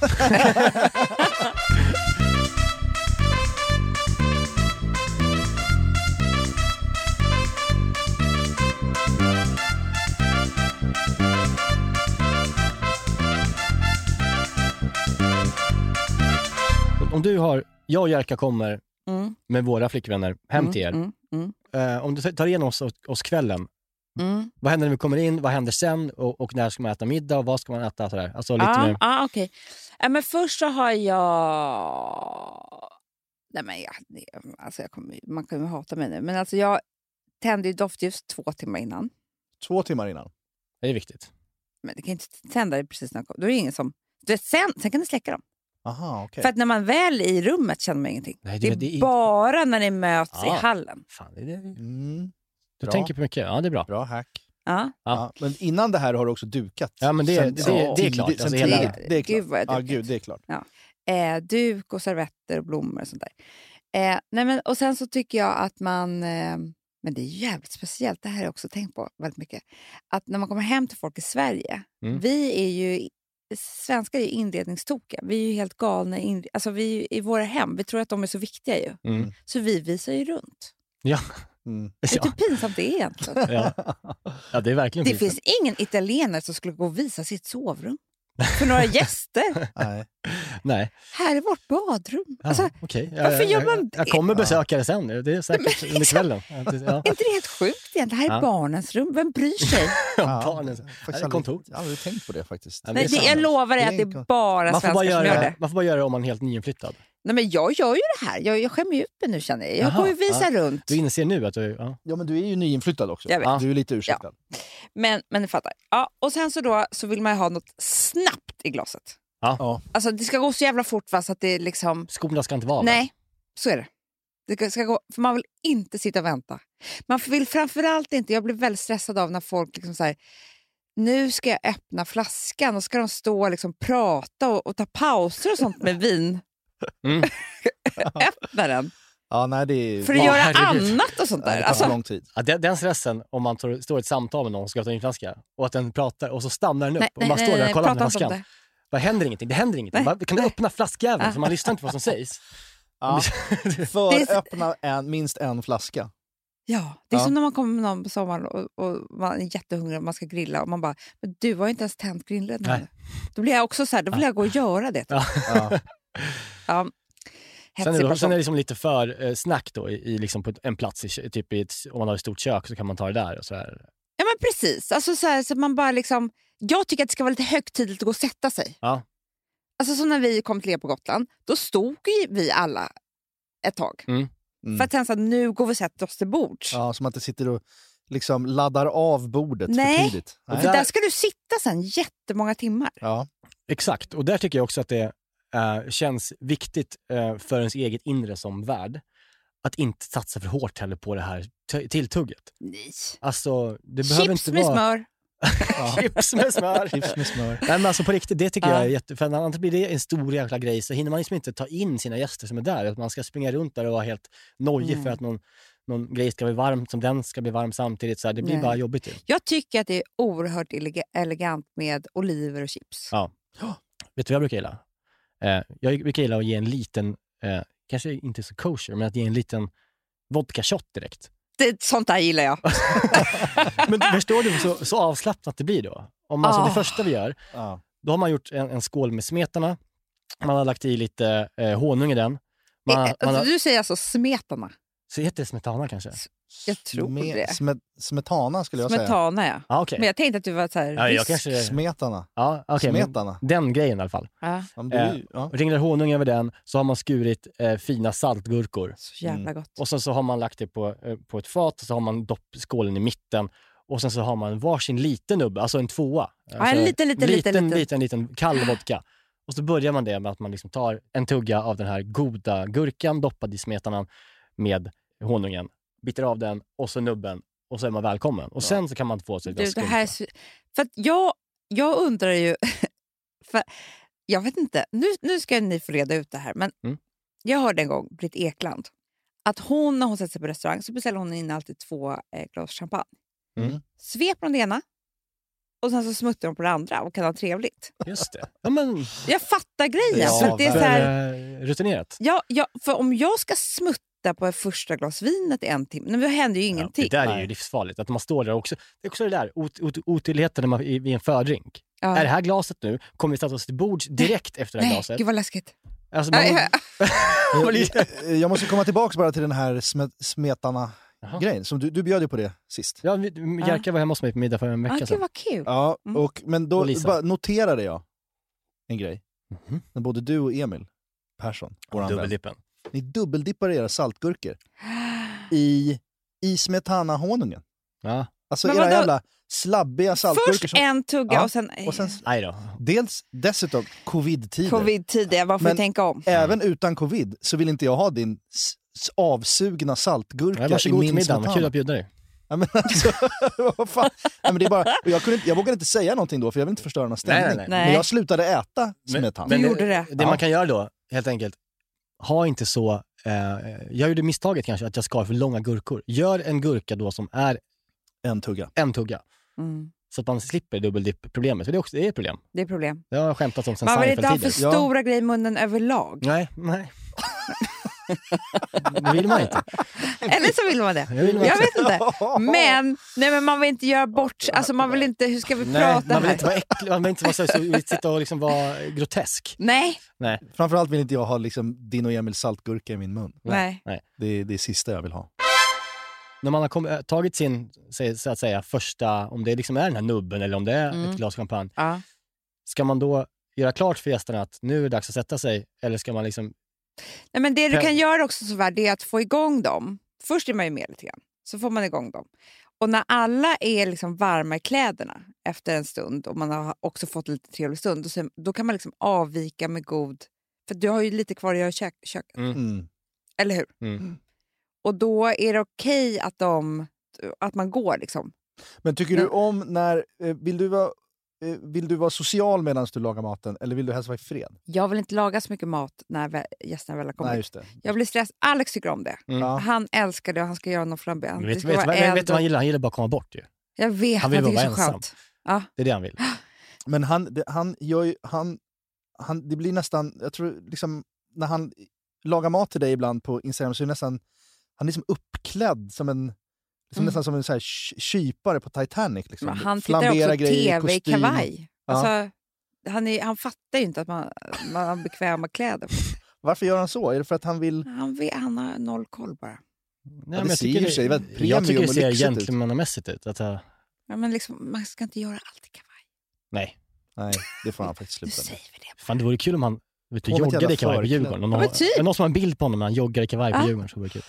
Om du har... Jag och Jerka kommer
Mm,
med våra flickvänner hem
mm,
till er.
Mm, mm,
Eh, om du tar igenom oss, oss kvällen,
mm.
vad händer när vi kommer in, vad händer sen och, och när ska man äta middag och vad ska man äta? Sådär. Alltså lite
Ja,
mer...
ja, Ah, okej. Ja, men först så har jag... Nej, men jag, det- alltså jag kommer, man kommer hata mig nu, men alltså jag tände ju doftljus två timmar innan.
Två timmar innan?
Det är viktigt.
Men det kan ju inte tända det precis när jag kom. Då är det ingen som... Du vet, sen, sen kan du släcka dem.
Aha, okej.
För att när man väl är i rummet känner man ingenting.
Eh. Nej,
Det är,
vet, det är- Ah.
bara när ni möts i
Ja.
hallen.
Fan, det är...
Mm,
Du
Bra.
tänker på mycket. Ja, det är bra.
bra hack.
Ja.
Ja.
Ja. Men innan det här har du också dukat?
Ja, men det-
Sen-
det- det-
ja,
det är klart. Ah,
tidigt- sen
Alltså, hela-
tidigt. Det är klart.
Gud, vad jag
ja,
dukat.
gud, det är klart.
Eh, duk och servetter och blommor och sånt där. Eh, nej men, och sen så tycker jag att man... Eh, men det är jävligt speciellt, det här har jag också tänkt på väldigt mycket. Att när man kommer hem till folk i Sverige,
Mm.
vi är ju... Svenskar är ju inredningstokiga. Vi är ju helt galna i inre- alltså, vi är ju, i våra hem. Vi tror att de är så viktiga ju.
Mm.
Så vi visar ju runt.
Mm.
Det är
Ja,
typ pinsamt det är egentligen.
ja. ja, det är verkligen
Det
fint.
finns ingen italienare som skulle gå och visa sitt sovrum för några gäster.
Nej.
Nej.
Här är vårt badrum.
Ja,
Alltså,
okej. Jag-
varför
jag-
gör man
Jag
det?
kommer besöka det sen. Det är säkert under kvällen. Ja.
är inte det helt sjukt egentligen? Det här är
Ja.
barnens rum. Vem bryr sig?
barnen.
jag har
Här är
aldrig-
kontor.
Jag har aldrig tänkt på det faktiskt.
Ja, men
Nej, det,
sant.
jag lovar dig
Det är
att det är
enkelt.
bara
man, får bara
svenskar som gör
göra,
det.
man får bara göra det om man är helt nyinflyttad.
Nej, men jag gör ju det här. Jag, jag skämmer ju ut mig nu känner jag. Jag
Jaha,
går ju och visar runt.
Du inser nu att du... Ja.
Ja, men du är ju nyinflyttad också.
Jag vet.
Du är lite ursäktad.
Men, men ni fattar. Ja, och sen så, då, så vill man ju ha något snabbt i glaset.
Ja.
Ja.
Alltså det ska gå så jävla fort va, så att det är liksom...
Skorna ska inte vara där.
Nej, så är det. det ska- ska gå, för man vill inte sitta och vänta. Man vill framförallt inte, jag blir väldigt stressad av när folk liksom så här, nu ska jag öppna flaskan och ska de stå och liksom prata och, och ta pauser och sånt med vin.
Mm.
öppna den,
Ja, nej, det är...
för att
Ja,
göra
herregud.
annat och sånt
Ja,
där.
det tar
Alltså,
för lång tid.
Ja, den, den stressen om man tar, står i ett samtal med någon som ska öppna en flaska och att den pratar och så stannar den upp och man står där och kollar på
prata inte om
flaskan.
det.
Det händer ingenting. Det händer ingenting.
Nej,
Bara, kan du öppna flaskjäveln?
Ah.
För man lyssnar inte på vad som sägs.
Ja.
Det är
För
så-
öppna en, minst en flaska.
Ja, det är
Ja.
som när man kommer med någon på sommaren och, och man är jättehungrig och man ska grilla och man bara, men du har ju inte ens tänt grillen
Nej.
ännu." Då blir jag också så här, då vill jag gå och göra det.
Ja.
Ja.
Ja.
Sen är, det,
Hetsig
sen är det
person.
liksom lite för eh, snack då, i, i liksom på ett- en plats, i, kö- typ i ett, om man har ett stort kök så kan man ta det där och sådär.
Ja, men precis. Alltså, så här, så att man bara liksom, jag tycker att det ska vara lite högtidligt att gå och sätta sig.
Ja.
Alltså som när vi kom till er på Gotland, då stod ju vi alla ett tag.
Mm.
Mm.
För att sen så här, nu går vi och sätter oss till bords.
Ja, som att det sitter och liksom laddar av bordet för
Nej.
tidigt.
För där ska du sitta sen jättemånga timmar.
Ja.
Exakt, och där tycker jag också att det eh, känns viktigt eh, för ens eget inre som värd att inte satsa för hårt heller på det här t- tilltugget.
Nej.
Alltså, det behöver
Chips
inte
med
vara...
smör.
ja.
Chips med smör.
Chips med smör.
Nej men alltså på riktigt, det tycker jag är
Ja.
jätte... För annars blir det en stor jäkla grej så hinner man liksom inte ta in sina gäster som är där. Att man ska springa runt där och vara helt nojig
Mm.
för att någon, någon grej ska bli varm som den ska bli varm samtidigt. Så här, det blir
Nej.
bara jobbigt. ju.
Jag tycker att det är oerhört elega- elegant med oliver och chips.
Ja. Vet du vad jag brukar gilla? Eh, jag brukar gilla att ge en liten, eh, kanske inte så kosher, men att ge en liten vodka shot direkt.
Det, sånt där gillar jag.
Men förstår du så, så avslappnat det blir då? Om man, så det
Ah.
första vi gör,
Ja.
då har man gjort en, en skål med smetarna Man har lagt i lite eh, honung i den. Man, har- man har,
Du säger alltså smetana?
så heter det smetana kanske?
Jag tror
Sme-
det.
Sme, smetana skulle jag säga.
Smetana, ja.
Ja, okej.
Men jag tänkte att du var så här...
Ja, jag
rysk.
kanske...
Smetana.
Ja, okej. men Eh,
Smetana.
den grejen i alla fall.
Ja,
Ja, men det är ju- ja.
Ringlar honung över den, så har man skurit eh, fina saltgurkor.
så jävla gott.
Mm. Och sen så har man lagt det på, eh, på ett fat och så har man doppskålen i mitten. Och sen så har man varsin liten nubbe, alltså en tvåa. Alltså
en liten, liten, liten,
liten,
liten.
liten, liten kall vodka. Och så börjar man det med att man liksom tar en tugga av den här goda gurkan doppad i smetanan med honungen, biter av den och så nubben och så är man välkommen. Och sen så kan man få sig ett
Du,
glas
det här är
skumpa.
så... För att jag, jag undrar ju... För jag vet inte, nu, nu ska ni få reda ut det här. Men
Mm.
Jag hörde en gång Britt Ekland att hon när hon sätter sig på restaurang så beställer hon in alltid två eh, glas champagne.
Mm.
Sveper hon det ena och sen så smuttar hon på det andra och kan ha trevligt.
Just det. Ja, men,
Jag fattar grejen.
Ja,
för att det är så här,
eh, rutinerat.
Ja, ja, för om jag ska smutta på första glas vinet i en timme, nej, men då händer ju ingenting.
Ja, det där är ju livsfarligt. Att man står där också. Det är också det där ot- ot- otydligheten när man, i- vid en fördrink.
Ja.
Är det här glaset nu? Kommer vi sätta oss till bords direkt efter det här
Nej,
glaset?
gud vad läskigt.
Alltså, man,
Nej, ja,
man blir-
Eh, Jag måste komma tillbaka bara till den här smet, smetana-grejen. som Du, du bjöd ju på det sist.
ja, vi- Jerka var hemma hos mig på middag för en
ja,
vecka
gud
sedan.
vad kul.
Ja,
Mm.
och, men då
Och Lisa.
bara noterade jag en grej.
Mhm.
När både du och Emil Persson, våran vän,
Dubbeldippen.
ni dubbeldippar era saltgurkor i, i smetana-honungen.
Ja.
Alltså
Men
era
vadå?
jävla slabbiga saltgurkor.
Först
som,
en tugga
Ja,
och sen,
och sen,
Nej då.
dels dessutom covid-tider.
covid-tider, man får ju
Men-
tänka om.
Mm.
Även utan covid så vill inte jag ha din s- s- avsugna saltgurka
Nej,
i
varsågod till
min
middagen, vad kul
smetana.
att bjuda dig.
Ja, men alltså, vad fan? Nej, men det är bara, och jag, kunde inte, jag vågade inte säga någonting då för jag vill inte förstöra någon stämning.
Nej, nej,
nej.
Men
Nej.
jag slutade äta smetana.
men- Du gjorde det.
Det man kan göra då, helt enkelt, ha inte så... Eh, jag gjorde misstaget kanske att jag skar för långa gurkor. Gör en gurka då som är
En tugga.
en tugga.
Mm,
Så att man slipper dubbeldipp-problemet. För det är, också, det är ett problem.
det är problem.
Det har jag skämtat om sen
Man vill inte ha
Seinfeld-tider.
Ja.
för stora grejer i munnen överlag.
Nej, nej. det vill man inte.
Eller så vill man det.
Det vill man
Jag
inte.
vet inte. Men, nej, men man vill inte göra bort Alltså man vill inte, hur ska vi
Nej,
prata
man vill
här?
inte vara äcklig, man vill inte vara så, så, sitta och liksom vara grotesk.
Nej,
Framförallt vill inte jag ha liksom, din och Emils saltgurka i min mun.
nej.
Det är det är sista jag vill ha.
När man har kommit, äh, tagit sin, så- så att säga, första, om det liksom är den här nubben eller om det är
Mm.
ett glas champagne,
Ja.
ska man då göra klart för gästerna att nu är det dags att sätta sig? Eller ska man liksom...
Nej, men det du
Kan-
kan göra också sådär, det är att få igång dem. Först är man ju med lite grann, så får man igång dem. Och när alla är liksom varma i kläderna efter en stund och man har också fått en lite trevlig stund, då, så- då kan man liksom avvika med god... För du har ju lite kvar att göra i kök, köket,
Mm.
eller hur?
Mm.
Och då är det okej att, de, att man går. Liksom.
Men tycker du om när... eh, Vill du vara, eh, vill du vara social medan du lagar maten eller vill du helst vara i fred?
Jag vill inte laga så mycket mat när vä- gästerna väl har kommit.
Nej, just det.
Jag blir stressad. Alex tycker om det.
Mm.
Ja.
Han älskar det och han ska göra någon flambé.
Vet,
Han- det
vet,
ska
vet,
vara
vet,
eld
du vad han
och-
gillar? Han gillar bara att komma bort ju.
Jag vet,
Han
han
vill
tycker
bara
det är
vara
så
ensam.
skönt.
Det är det han vill.
Men han, det, han gör ju... Han, han, det blir nästan... Jag tror liksom... När han lagar mat till dig ibland på Instagram så är det nästan... Han är liksom uppklädd som en... Liksom
Mm.
Nästan som en så här ky- kypare på Titanic. Liksom.
Men han tittar också
Flambera grejer,
tv i
kostym.
kavaj.
Ja.
Alltså, han, är, han fattar ju inte att man, man har bekväma kläder.
Varför gör han så? Är det för att han vill...
Han, vet, han har noll koll bara.
Nej,
det ser ju i och för sig väldigt
jag tycker
premium
det
och
ser
lyxigt ut.
gentlemannamässigt ut. Att, eh, jag-
Ja, men liksom, man ska inte göra allt i kavaj.
nej,
Nej, det får han faktiskt
Nu
sluta med.
säger vi det.
Fan, det vore kul om han vet du,
På med ett
joggade i
jävla
kavaj på
förkläde.
Djurgården. Om
Ja,
någon,
men
har-
typ.
men någon som har en bild på honom när han joggar i kavaj på
Ja.
Djurgården. Så vore det kul.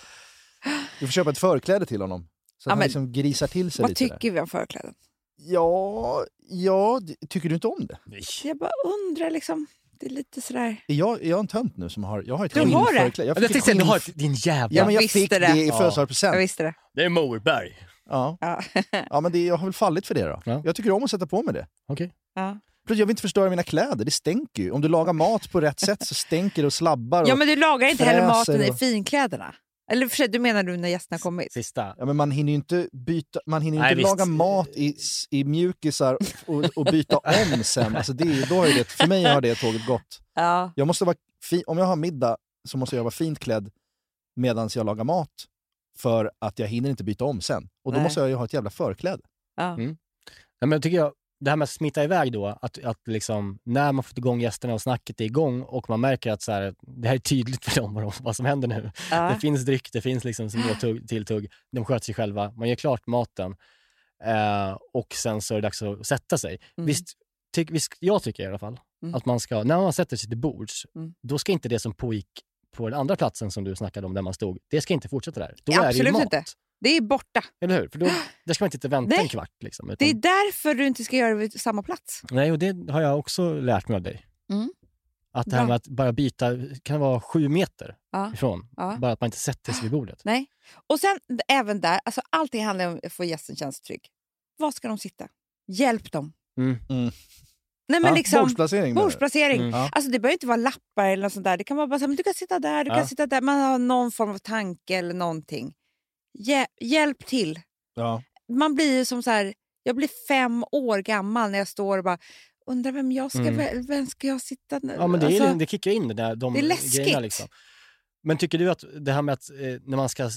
Du får köpa ett förkläde till honom. Så att
Ja,
han
men-
liksom grisar till sig
Vad
lite.
tycker vi om förkläden?
Där. Ja, ja, d- tycker du inte om det?
Jag bara undrar liksom. Det är lite sådär...
Är jag, är jag en tönt nu som har... Jag har ett
Du har det?
skinnförkläde. Jag
Jag,
fick ett
tänkte säga, du har
skinn-
ett- din jävla...
Ja, men jag
Visste
fick det,
det.
i
Ja.
Jag
födelsedagspresent.
visste det.
Det är Moberg.
Ja.
Ja.
Ja, men det, jag har väl fallit för det då.
Ja.
Jag tycker om att sätta på mig det.
Okej.
Ja.
Plus, jag vill inte förstöra mina kläder, det stänker ju. Om du lagar mat på rätt sätt så stänker det och slabbar. Och,
ja, men du lagar inte heller
fräser
maten i
och-
finkläderna. Eller för sig, du menar nu när gästerna kommit?
Sista.
ja, men man hinner ju inte, byta, man hinner ju
Nej,
inte laga
visst.
mat i, i mjukisar och, och byta om sen. Alltså det, är- då har ju det, för mig har det tåget gått.
Ja.
Jag måste vara fi- om jag har middag så måste jag vara fint klädd medan jag lagar mat för att jag hinner inte byta om sen. Och då
Nej.
måste jag ju ha ett jävla förkläde.
ja.
Ja, men jag tycker jag, det här med att smita iväg då, att, att liksom, när man fått igång gästerna och snacket är igång och man märker att så här, det här är tydligt för dem vad, de, vad som händer nu. Det
Ja.
finns dryck, det finns liksom små tugg, tilltugg. De sköter sig själva. Man gör klart maten eh, och sen så är det dags att sätta sig.
Mm.
Visst, tyck, visst, jag tycker i alla fall
Mm.
att man ska, när man sätter sig till bords,
Mm.
då ska inte det som pågick på den andra platsen som du snackade om där man stod, det ska inte fortsätta där. Då är det ju
Absolut
mat.
inte. Det är borta.
Eller hur? För då, där ska man inte vänta
Nej.
en kvart. Liksom, utan,
Det är därför du inte ska göra det vid samma plats.
Nej, och det har jag också lärt mig av dig.
Mm.
Att det här
Bra.
med att bara byta, kan vara sju meter
Ja.
ifrån.
Ja.
Bara att man inte sätter sig vid bordet.
Nej. Och sen d- även där, alltså allting handlar om att få gästen känns trygg. Var ska de sitta? Hjälp dem.
Mm.
Mm.
Nej, men
Ja,
liksom,
Bordsplacering. menar du?
bordsplacering.
Mm.
Ja.
Alltså, det behöver inte vara lappar eller något sånt där. Det kan vara bara så här, men du kan sitta där, du
Ja.
kan sitta där. Man har någon form av tanke eller någonting. Hjä- hjälp till.
Ja.
man blir ju som så här, jag blir fem år gammal när jag står och bara undrar vem jag ska,
Mm.
väl- vem ska jag sitta nu?
Ja, men det, är,
Alltså,
det kickar in där, de
det är läskigt.
grejerna. Liksom. Men tycker du att det här med att eh, när man ska...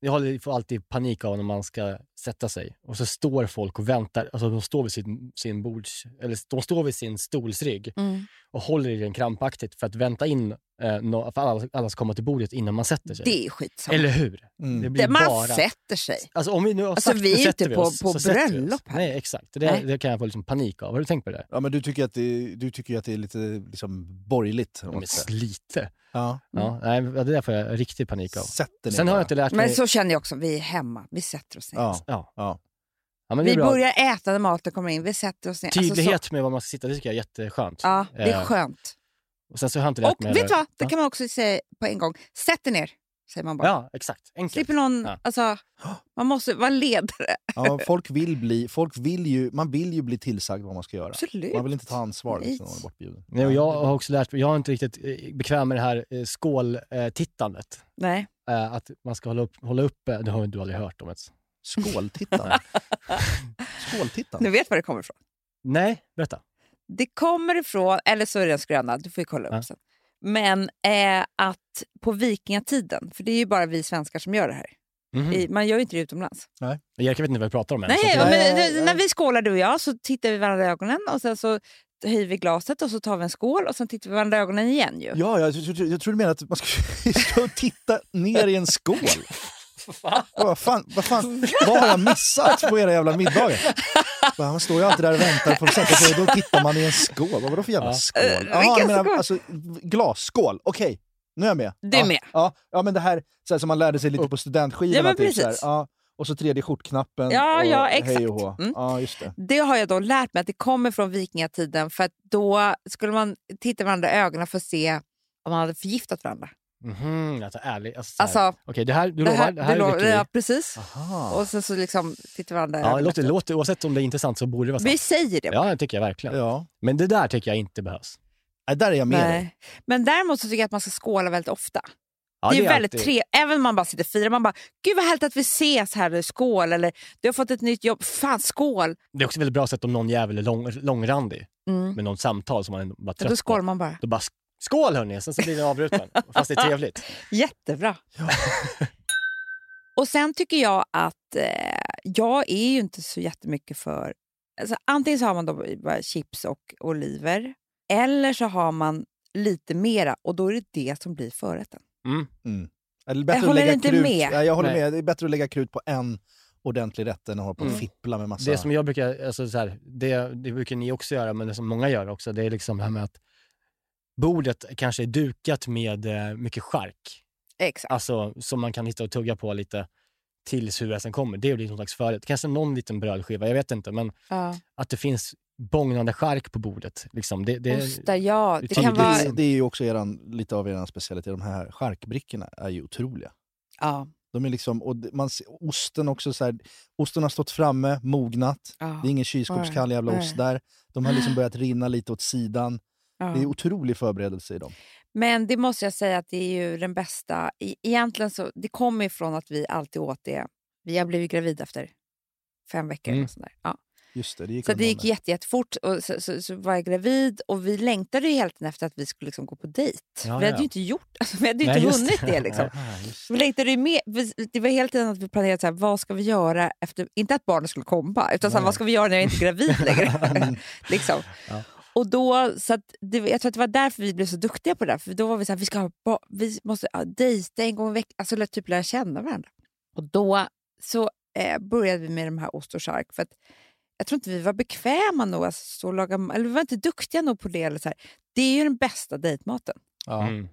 Jag har- får alltid panik av när man ska sätta sig och så står folk och väntar. Alltså de står vid sin, sin bords... Eller de står vid sin stolsrygg
mm.
och håller i den krampaktigt för att vänta in eh, nå- för alla, alla ska komma till bordet innan man sätter sig.
det är skitsamma.
Eller hur? Det
Mm.
blir
man
bara...
sätter sig.
Alltså om vi nu har
Alltså,
sagt
vi är
"Nu
ju
sätter
inte
vi
på-
oss",
på
så sätter vi oss.
bröllop här.
Nej, exakt. Det,
Nej.
det kan jag få liksom panik av. Har du tänkt på det där?
ja, men du tycker att det, du tycker att det är lite liksom, borgerligt. om
De
man
är
ska säga.
slite.
Ja.
Ja, nej, det där får jag riktig panik av.
Sätter ni
Sen har
bara.
jag inte lärt mig...
Mm. Men så känner jag också, vi är hemma, vi sätter oss ner.
Ja.
Ja.
Ja.
Ja, men det är
Vi
bra.
börjar äta när maten kommer in, vi sätter oss ner. Alltså, så-
Tydlighet med var man ska sitta, det tycker jag är jätteskönt.
ja, det är
Eh,
skönt.
Och sen så har jag inte lärt
Och
mig...
vet du vad, det
Ja.
kan man också säga på en gång. Sätt er ner, säger man bara.
Ja, exakt. Enkelt.
Slipper någon,
Ja.
alltså, man måste vara ledare.
Ja, folk vill bli, folk vill ju, man vill ju bli tillsagd vad man ska göra.
Absolut.
Man vill inte ta ansvar
Nej.
liksom, när man är bortbjuden.
Nej, och jag har också lärt mig, jag är inte riktigt eh, bekväm med det här eh, skåltittandet.
Nej.
Eh, Att man ska hålla upp, hålla upp eh, det har du aldrig hört om ens.
Skåltittaren. Skåltittaren.
Du vet var det kommer ifrån.
Nej, berätta. det
Det kommer ifrån, eller så är det en skröna, du får ju kolla upp
Ja.
sen. Men eh, att på vikingatiden, för det är ju bara vi svenskar som gör det här. I, man gör ju inte det utomlands.
Erik, jag vet inte vad vi pratar om än.
Nej,
Mhm. så
men,
att-
eh, när vi skålar du och jag så tittar vi varandra i ögonen och sen så höjer vi glaset och så tar vi en skål och sen tittar vi varandra i ögonen igen ju.
Ja, jag, jag, jag tror du menar att man ska, ska titta ner i en skål. Vad fan, vad fan vad har jag missat på era jävla middagar? Bara, Man står ju alltid där och väntar på att sätta sig och då tittar man i en skål. Vad var det för jävla
Ja.
skål?
Eh,
jag
vilken skål?
alltså, glasskål. Okej, nu är jag med.
Du är
ja,
med.
Ja, ja, men det här så här, som man lärde sig lite på studentskivorna.
Ja, men
typ, så här.
precis.
ja, och så tredje skjortknappen
Ja,
och
ja,
hej
exakt.
och hå.
Mm.
Ja, just det.
Det har jag då lärt mig att det kommer från vikingatiden för att då skulle man titta varandra i ögonen för att se om man hade förgiftat varandra.
Mhm, alltså ärligt. Alltså, så här.
Alltså,
Okej, det här, du
det
lovar,
här,
det här
du
är
lovar,
lycklig.
ja, precis.
Aha.
Och sen så liksom tittar varandra i
Ja, det
ögonen.
låter, låter, oavsett om det är intressant så borde det vara sant.
Vi säger det
Ja, det tycker jag verkligen.
Ja.
Men det där tycker jag inte behövs.
Nej, där är jag med dig.
Nej. Men däremot så tycker jag att man ska skåla väldigt ofta.
Ja,
det, är väldigt
alltid-
trevligt, även om man bara sitter och firar. Man bara, gud vad härligt att vi ses här, eller skål, eller du har fått ett nytt jobb, fan skål.
Det är också väldigt bra sätt om någon jävel är lång, långrandig
Mm.
med någon samtal som man är bara
Ja,
trött
Då skålar
på.
man bara.
Då bara sk- skål hörni, sen så blir den avbruten. Fast det är trevligt.
Jättebra. och sen tycker jag att eh, jag är ju inte så jättemycket för... Alltså, antingen så har man då bara chips och oliver, eller så har man lite mera och då är det det som blir förrätten.
Ja, det är bättre
Jag
att
håller
lägga
inte
krut.
med.
Ja, jag håller
Nej.
med. Det är bättre att lägga krut på en ordentlig rätt än att hålla på och
Mm.
fippla med massa...
Det som jag brukar, alltså så här, det, det brukar ni också göra, men det som många gör också, det är liksom det här med att bordet kanske är dukat med eh, mycket chark.
Exakt.
Alltså som man kan hitta och tugga på lite tills huvudrätten kommer. Det blir någon slags förrätt. Kanske någon liten brödskiva, jag vet inte. Men
Ja.
att det finns bågnande chark på bordet. Liksom. Det, det,
Ostar, ja. Det
det
kan
tydligt.
vara...
det, det är ju också eran, lite av er specialitet. De här charkbrickorna är ju otroliga.
Ja,
De är liksom, och det- man ser, osten också så här, osten har stått framme, mognat.
ja,
Det är ingen kylskåpskall jävla
Nej.
ost där. De har liksom börjat rinna lite åt sidan.
ja.
Det är otrolig förberedelse i dem.
Men det måste jag säga att det är ju den bästa. E- Egentligen så, det kommer ju från att vi alltid åt det. Vi har blivit gravida efter fem veckor.
Mm.
Och sådär. Ja.
Just det, det gick
Så det
undan
gick
där.
jätte, jättefort och så, så, så var jag gravid och vi längtade ju hela tiden efter att vi skulle liksom gå på dejt.
Ja,
vi hade
ja.
ju inte gjort, alltså, vi hade ju
Nej,
inte
just
hunnit det. liksom.
Ah, just.
Vi längtade ju med, vi, det var hela tiden att vi planerade så här, vad ska vi göra efter, inte att barnen skulle komma, utan så här, vad ska vi göra när jag inte är gravid längre. liksom.
Ja.
Och då, så att det, jag tror att det var därför vi blev så duktiga på det där, för då var vi så här, vi, ska ha, ba- vi måste ja, dejta en gång i veckan, alltså lä- typ lära känna varandra. Och då så eh, började vi med de här ost och chark, för att jag tror inte vi var bekväma nog att stå och laga, eller vi var inte duktiga nog på det. Eller så här. Det är ju den bästa dejtmaten.
Ja.
Mm.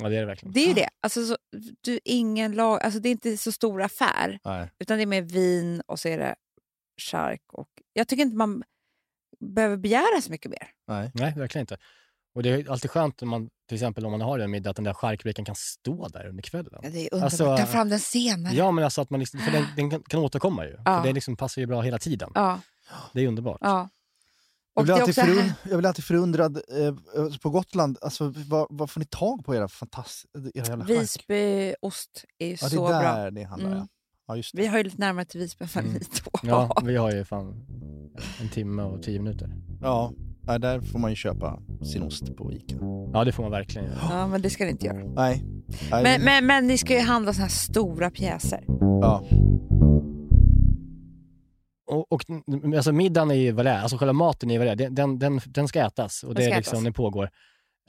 Ja, det är det verkligen.
Det är ju det. Alltså, så, du, ingen lag, alltså, det är inte så stor affär,
Nej.
utan det är mer vin och så är det chark. Och, jag tycker inte man behöver begära så mycket mer.
Nej.
Nej, verkligen inte. Och det är ju alltid skönt om man, till exempel om man har en middag, att den där charkbrickan kan stå där under kvällen.
Ja, Det är
Alltså,
underbart. Ta fram den senare.
Ja, men alltså att man liksom, för den, den kan, kan återkomma ju.
Ja.
För det liksom passar ju bra hela tiden.
Ja,
Det är underbart.
ja.
Jag
Och det
blir,
är
alltid
också
förund, jag blir alltid förundrad eh, eh, på Gotland. Alltså, vad, vad får ni tag på era fantastiska... Era jävla chark?
Visbyost är
Ja,
ju
det
så
är
bra.
där ni handlar,
Mm.
ja. Ja, just det.
Vi har ju lite närmare till Visby än vad
Mm.
ni två
Ja,
har.
vi har ju fan en timme och tio minuter.
Ja, nej, där får man ju köpa sin ost på Ica.
Ja, det får man verkligen göra.
Ja, men det ska ni inte göra.
Nej. nej
Men, men, men ni ska ju handla såna här stora pjäser.
Ja.
Och, och mm, alltså middagen är ju vad det är, alltså själva maten är ju vad det är. Den, den, den, den ska ätas och
Den
det
ska
är liksom,
ätas.
den pågår.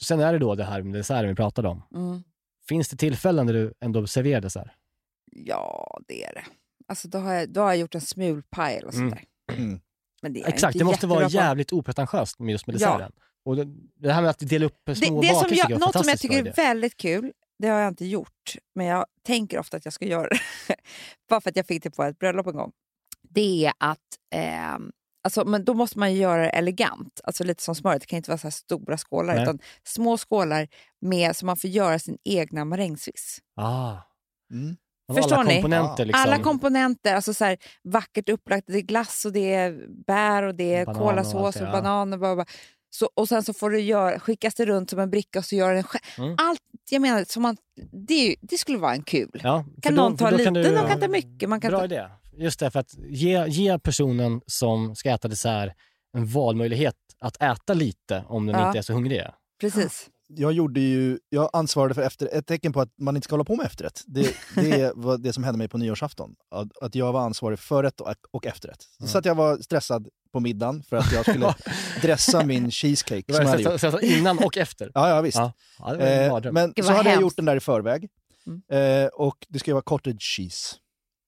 Sen är det då det här med desserten vi pratade om.
Mm.
Finns det tillfällen där du ändå serverar dessert?
Ja, det är det. Alltså, då, har jag, då har jag gjort en smulpaj eller sånt
Mm.
där.
Mm.
Men det är jag
Exakt,
inte
det måste vara
jättebra på.
jävligt opretentiöst med just med
Ja.
desserten. Och det, det här med att dela upp
Det,
små
det
bakelser
som jag,
tycker jag är
något som jag
fantastiskt
tycker
bra
är
idé.
väldigt kul, det har jag inte gjort, men jag tänker ofta att jag ska göra det. Bara för att jag fick det på ett bröllop en gång. Det är att, ehm, alltså, men då måste man ju göra det elegant. Alltså lite som smöret, det kan inte vara så här stora skålar.
Nej.
Utan små skålar med, så man får göra sin egna marängsviss.
Ah,
Mm.
man har
Förstår
alla
ni?
komponenter
Ja.
liksom.
Alla komponenter, alltså så här, vackert upplagt. Det är glass och det är bär och det är
Banan och allt
kolasås
det,
och
ja.
banan. Och, bara, bara. Så, och sen så får du göra, skickas det runt som en bricka och så gör den själv.
Mm.
Allt, jag menar, som man, det, är ju- det skulle vara en kul.
Ja, för
Kan
då-
någon
för
ta
då
lite,
du-
någon kan ta mycket. Man kan
Bra
ta,
idé. Just det, för att ge, ge personen som ska äta dessert en valmöjlighet att äta lite om den
Ja.
inte är så hungrig.
precis.
jag gjorde ju, jag ansvarade för efter, ett tecken på att man inte ska hålla på med efterrätt. Det, det var det som hände mig på nyårsafton. Att, att jag var ansvarig för förrätt och, och efterrätt.
Mm.
Så att jag var stressad på middagen för att jag skulle dressa min cheesecake. Som jag hade gjort.
Så, så, så Alltså innan och efter.
Ja, ja, visst.
Ja. Ja, det var en
Eh,
mardröm.
men
Gud,
så
vad
hade jag
hemskt.
gjort den där i förväg. Eh, och det ska ju vara cottage cheese.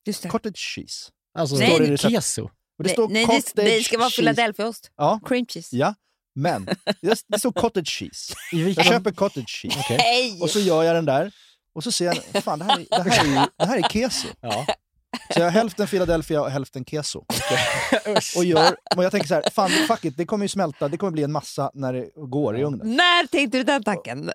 Just det.
Cottage cheese.
alltså,
Nej,
står det
det-
keso?
Och
Nej, nej, det, det ska vara Philadelphiaost.
Ja,
Cream cheese.
ja, men det, det står cottage cheese.
I
Jag
vilken?
köper cottage cheese.
Okej.
Nej!
Och så gör jag den där. Och så ser jag, fan det här är, det här är, ju- det här är keso.
Ja.
Så jag har hälften Philadelphia och hälften keso. Och, gör, och jag tänker så här, fan fuck it, det kommer ju smälta, det kommer bli en massa när det går i ugnen.
När tänkte du den tanken?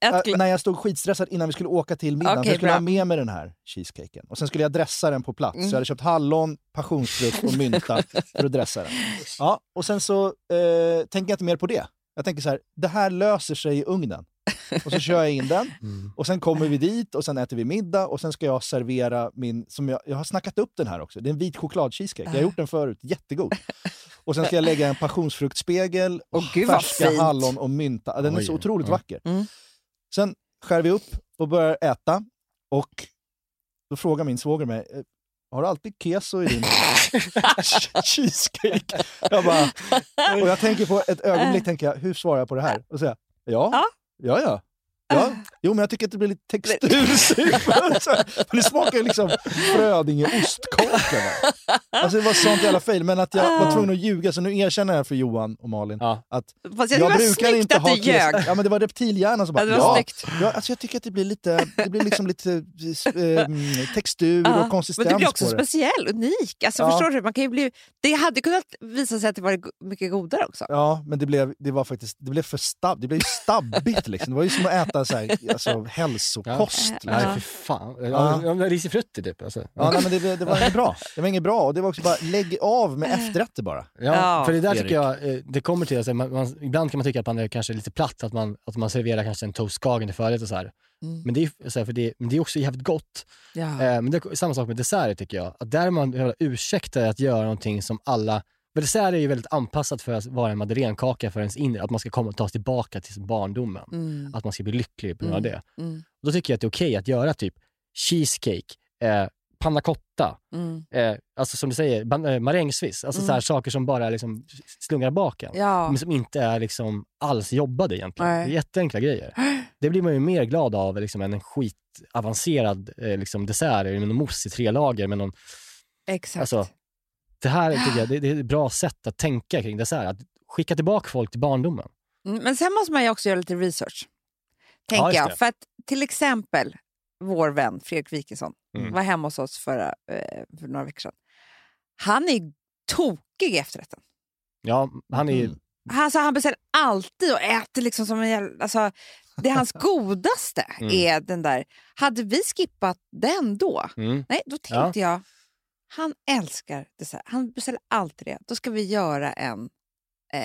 Ett
Äh,
glas-
när jag stod skitstressad innan vi skulle åka till middagen,
Okej,
för jag skulle
bra. Mm.
ha med mig den här cheesecaken. Och sen skulle jag dressa den på plats. Så jag hade köpt hallon, passionsfrukt och mynta för att dressa den. Ja, och sen så eh, tänker jag inte mer på det. Jag tänker så här, det här löser sig i ugnen. Och så kör jag in den. Och sen kommer vi dit och sen äter vi middag och sen ska jag servera min, som jag, jag har snackat upp den här också, det är en vit chokladcheesecake.
Ah.
Jag har gjort den förut, jättegod. Och sen ska jag lägga en passionsfruktspegel, och
Åh, gud, vad
färska
fint.
hallon och mynta. Den är
Oj,
så otroligt
ja.
vacker.
Mm.
Sen skär vi upp och börjar äta och då frågar min svåger mig, "Eh, har du alltid keso i din cheesecake? Jag bara, och jag tänker på ett ögonblick, tänker jag, hur svarar jag på det här? Och säger jag,
Ja.
ja, ja, ja. Ja, jo men jag tycker att det blir lite textursurt. Så här, för Det smakar ju liksom Frödinge ostkaka. va? Alltså det var sånt jävla fail, men att
Ah.
jag var tvungen att ljuga så nu erkänner jag för Johan och Malin
Ja.
att
Fast jag,
jag,
tycker det var
brukar
snyggt
inte
att
ha
du ljög.
keso. Ja men det var reptilhjärnan som bara,
Ja, det var
ja,
snyggt.
ja alltså jag tycker att det blir lite, det blir liksom lite eh, mm, textur
Ja,
och konsistens
Men du blir också
på det.
speciell, unik. Alltså,
Ja.
förstår du? Man kan ju bli, det hade kunnat visa sig att det var go- mycket godare också.
Ja, men det blev, det var faktiskt, det blev för stabb, det blev ju stabbigt liksom. Det var ju som att äta så här, alltså, hälsokost.
Ja.
liksom.
Nej, fy fan. Ja.
Ja.
Ja. men Risifrutti typ. Alltså.
Ja, nej, men det, blev- det var inget bra. Det var inget bra. Och det var också bara, lägg av med efterrätter bara.
Ja,
Ja.
för det där
Erik.
tycker jag, eh, det kommer till, alltså, man, man, ibland kan man tycka att man är kanske lite platt, att man, att man serverar kanske en toast Skagen i förrätt och så här.
Mm.
Men, det är, ju- så här, för det, men det är också jävligt gott.
Ja.
Eh,
Eh, men det är samma sak med desserter tycker jag, att där man behöver ursäkta att göra någonting som alla
Dessert är ju väldigt anpassat för att vara en madeleinekaka för ens inre, att man ska komma och ta sig tillbaka till barndomen.
Mm.
Att man ska bli lycklig på grund av
Mm.
det.
Mm.
Då tycker jag att det är okej att göra typ cheesecake, eh, panna cotta,
Mm.
eh, alltså som du säger, ban- eh, marängsviss. Alltså
Mm.
så här saker som bara liksom slungar bak en.
Ja.
Men som inte är liksom alls jobbade egentligen.
Nej.
Det är jätteenkla grejer. Det blir man ju mer glad av liksom, än en skitavancerad eh, liksom, dessert med någon mousse i tre lager. Med någon,
Exakt.
alltså, det här tycker jag det, det är ett bra sätt att tänka kring dessert. Att skicka tillbaka folk till barndomen.
Mm, Men sen måste man ju också göra lite research. Tänker
just det.
jag. För att till exempel vår vän Fredrik Wikingsson
Mm.
var hemma hos oss förra, eh, för några veckor sedan. Han är ju tokig i efterrätten.
Ja, han är ju...
Mm.
Alltså, han beställer alltid och äter liksom som en jävla... Alltså, det är hans godaste
Mm.
är den där. Hade vi skippat den då?
Mm.
Nej, då tänkte jag, han älskar dessert. Han beställer alltid det. Då ska vi göra en... Eh,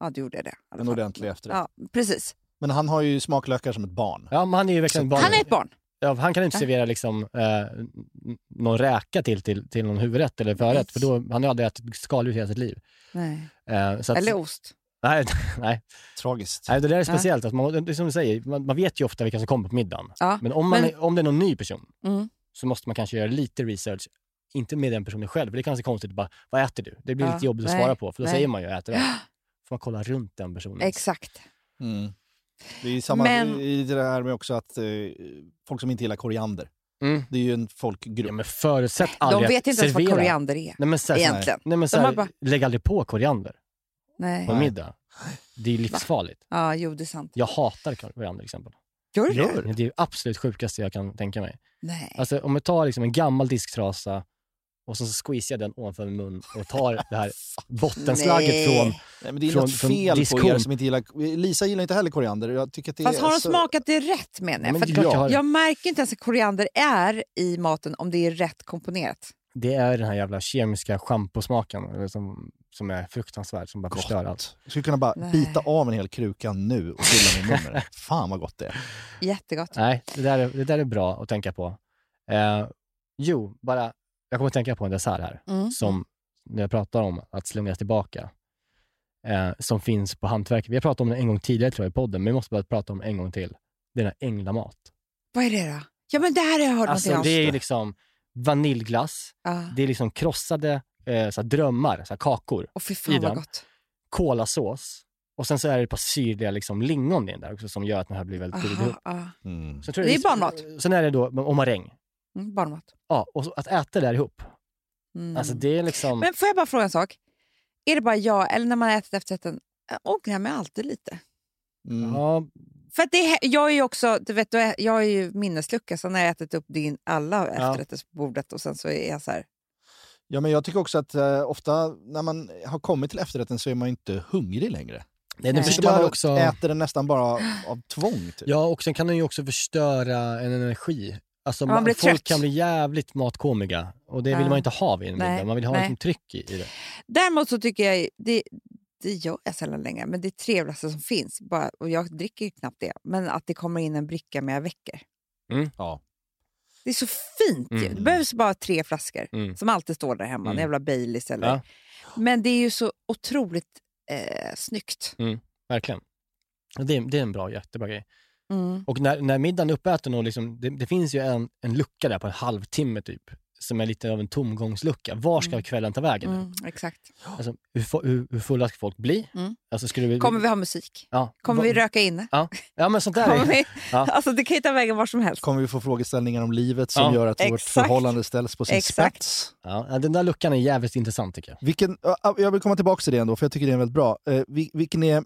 ja, då gjorde jag det. i alla
En
fall.
ordentlig efterrätt.
Ja, precis.
Men han har ju smaklökar som ett barn.
Ja, men han är ju verkligen barn.
Han är ett barn.
ja, han kan inte
Ja.
servera liksom, eh, n- någon räka till, till, till någon huvudrätt eller förrätt, för då, han har aldrig ätit skaldjur i hela sitt liv.
Nej.
Eh, så att,
Eller ost.
nej, nej,
Tragiskt.
Nej, det där är
Ja.
speciellt. Att man, det är som du säger, man, man vet ju ofta vilka som kommer på middagen.
Ja.
Men om, man,
Men-
är- om det är någon ny person
Mm.
så måste man kanske göra lite research. Inte med den personen själv, för det är kanske konstigt. Bara, vad äter du? Det blir
Ja.
lite jobbigt att
Nej.
svara på, för då
Nej.
säger man ju jag äter det. här." får man kolla runt den personen.
Exakt.
Mm. Det är ju samma
Men-
i det här med också att eh, folk som inte gillar koriander.
Mm.
Det är ju en folkgrupp.
Ja, men förutsätt
De vet
aldrig att
inte ens vad
servera.
koriander är.
Nej, men, så här,
Egentligen.
Nej, men, så
De
här,
har bara-
Lägg aldrig på koriander
Nej.
på middag. Det är livsfarligt.
Ja, jo, det är sant.
Jag hatar koriander till exempel.
Gör du det?
Gör.
Det är det absolut sjukaste jag kan tänka mig.
Nej.
Alltså om jag tar liksom en gammal disktrasa och sen så squeezar jag den ovanför min mun och tar det här bottenslagget
Nej.
från...
Nej, men det är
Från-
något
från
fel på er
diskon.
som inte gillar... Lisa gillar inte heller koriander. Jag tycker att det
Fast
är alltså,
har de
så-
smakat det rätt menar jag?
alltså-
För
Men det är klart
ja.
jag har-
att jag märker inte ens att koriander är i maten om det är rätt komponerat.
Det är den här jävla kemiska schamposmaken eller som, som är fruktansvärd, som bara
Gott.
förstör allt.
Jag skulle kunna bara
Nej.
bita av en hel kruka nu och fylla min mun med det. Fan vad gott det är.
Jättegott.
Nej, det där är, det där är bra att tänka på. Eh, jo, bara, jag kommer att tänka på en dessert här,
Mm.
som när jag pratar om att slungas tillbaka, eh, som finns på hantverk. Vi har pratat om den en gång tidigare tror jag i podden, men vi måste bara prata om den en gång till. Det är den här änglamat.
Vad är det då? Ja, men det här har jag hört
Alltså det
någonting om.
är ju liksom vaniljglass,
Ja.
Det är liksom krossade eh, så här drömmar, så här kakor,
Och fy fan
i den.
vad gott.
kolasås och sen så är det ett par syrliga liksom, lingon i den där också som gör att den här blir väldigt god ihop.
Aha, ja.
Mm.
Sen tror
Det är
jag
barnmat.
Sen är det då, och maräng.
mm, barnmat.
Ja, och så, att äta det där ihop.
Mm.
Alltså det är liksom...
Men får jag bara fråga en sak? Är det bara jag, eller när man har ätit efterrätten, ångrar jag mig alltid lite?
Mm.
Ja,
För att det, är- jag är ju också, du vet, då är- jag är ju minneslucka, så när jag ätit upp din alla efterrätter på bordet och sen så är jag så här,
Ja, men jag tycker också att eh, ofta när man har kommit till efterrätten så är man ju inte hungrig längre.
nej, den
Nej.
förstör
man
också...
äter den nästan bara av tvång. Typ.
Ja, och sen kan den ju också förstöra en energi. Alltså,
Man
man
blir
folk
trött.
kan bli jävligt matkomiga och det vill
Ja.
man inte ha vid en
Nej,
middag. Man vill ha
nej.
liksom tryck i, i det.
Däremot så tycker jag, det, det gör jag sällan längre, men det trevligaste som finns, bara, och jag dricker ju knappt det, men att det kommer in en bricka med veckor.
Mm.
Ja.
Det är så fint ju. Det
Mm.
behövs bara tre flaskor
Mm.
som alltid står där hemma, en
Mm.
jävla Baileys eller...
Ja.
Men det är ju så otroligt eh, snyggt.
Verkligen. Och Det är, det är en bra, jättebra grej.
Mm.
Och när, när middagen är uppäten och liksom, det, det finns ju en, en lucka där på en halvtimme typ, som är lite av en tomgångslucka. Var ska
Mm.
kvällen ta vägen?
Mm, exakt.
Alltså, hur, fo- hur, hur fulla ska folk bli?
Mm.
Alltså, skulle vi,
Kommer vi ha musik?
ja,
Kommer
va-
vi röka inne?
Ja, men sånt där
Kommer
är,
vi?
Ja.
Alltså, det kan ju ta vägen var som helst.
Kommer vi få frågeställningar om livet som
Ja.
gör att vårt
Exakt.
förhållande ställs på sin
Exakt.
spets?
ja, Den där luckan är jävligt intressant tycker jag.
Vilken, ja, jag vill komma tillbaka till det ändå, för jag tycker det är väldigt bra. Eh, vi- vilken är,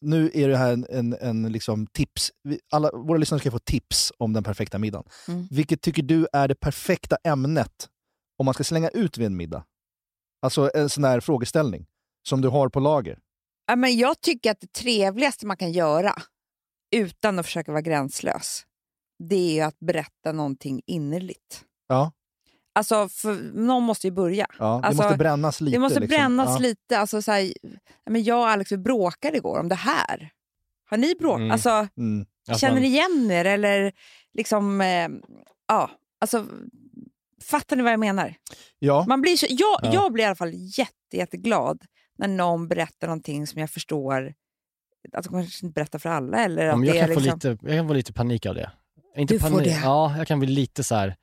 nu är det här en, en, en liksom tips. Vi, alla, våra lyssnare ska få tips om den perfekta middagen.
Mm.
Vilket tycker du är det perfekta ämnet om man ska slänga ut vid en middag? Alltså en sån här frågeställning som du har på lager.
Ja, men jag tycker att det trevligaste man kan göra utan att försöka vara gränslös, det är ju att berätta någonting innerligt.
Ja,
Alltså, för någon måste ju börja.
ja.
Alltså,
det måste brännas lite.
det måste
liksom.
brännas
ja.
lite. Alltså, så här, ja, men jag och Alex vi bråkade igår om det här. Har ni bråkat?
Mm.
Alltså,
Mm.
Att
känner
man-
ni igen er? Eller liksom, eh, ja, alltså, fattar ni vad jag menar?
Ja,
Man blir så, jag,
Ja.
jag blir i alla fall jätte jätte, jätteglad när någon berättar någonting som jag förstår att de kanske inte berättar för alla. Eller
Ja,
att
men jag,
det
kan
är liksom...
få lite, jag kan få lite panik av det. Inte
Du får
panik,
det?
Ja, jag kan bli lite så här,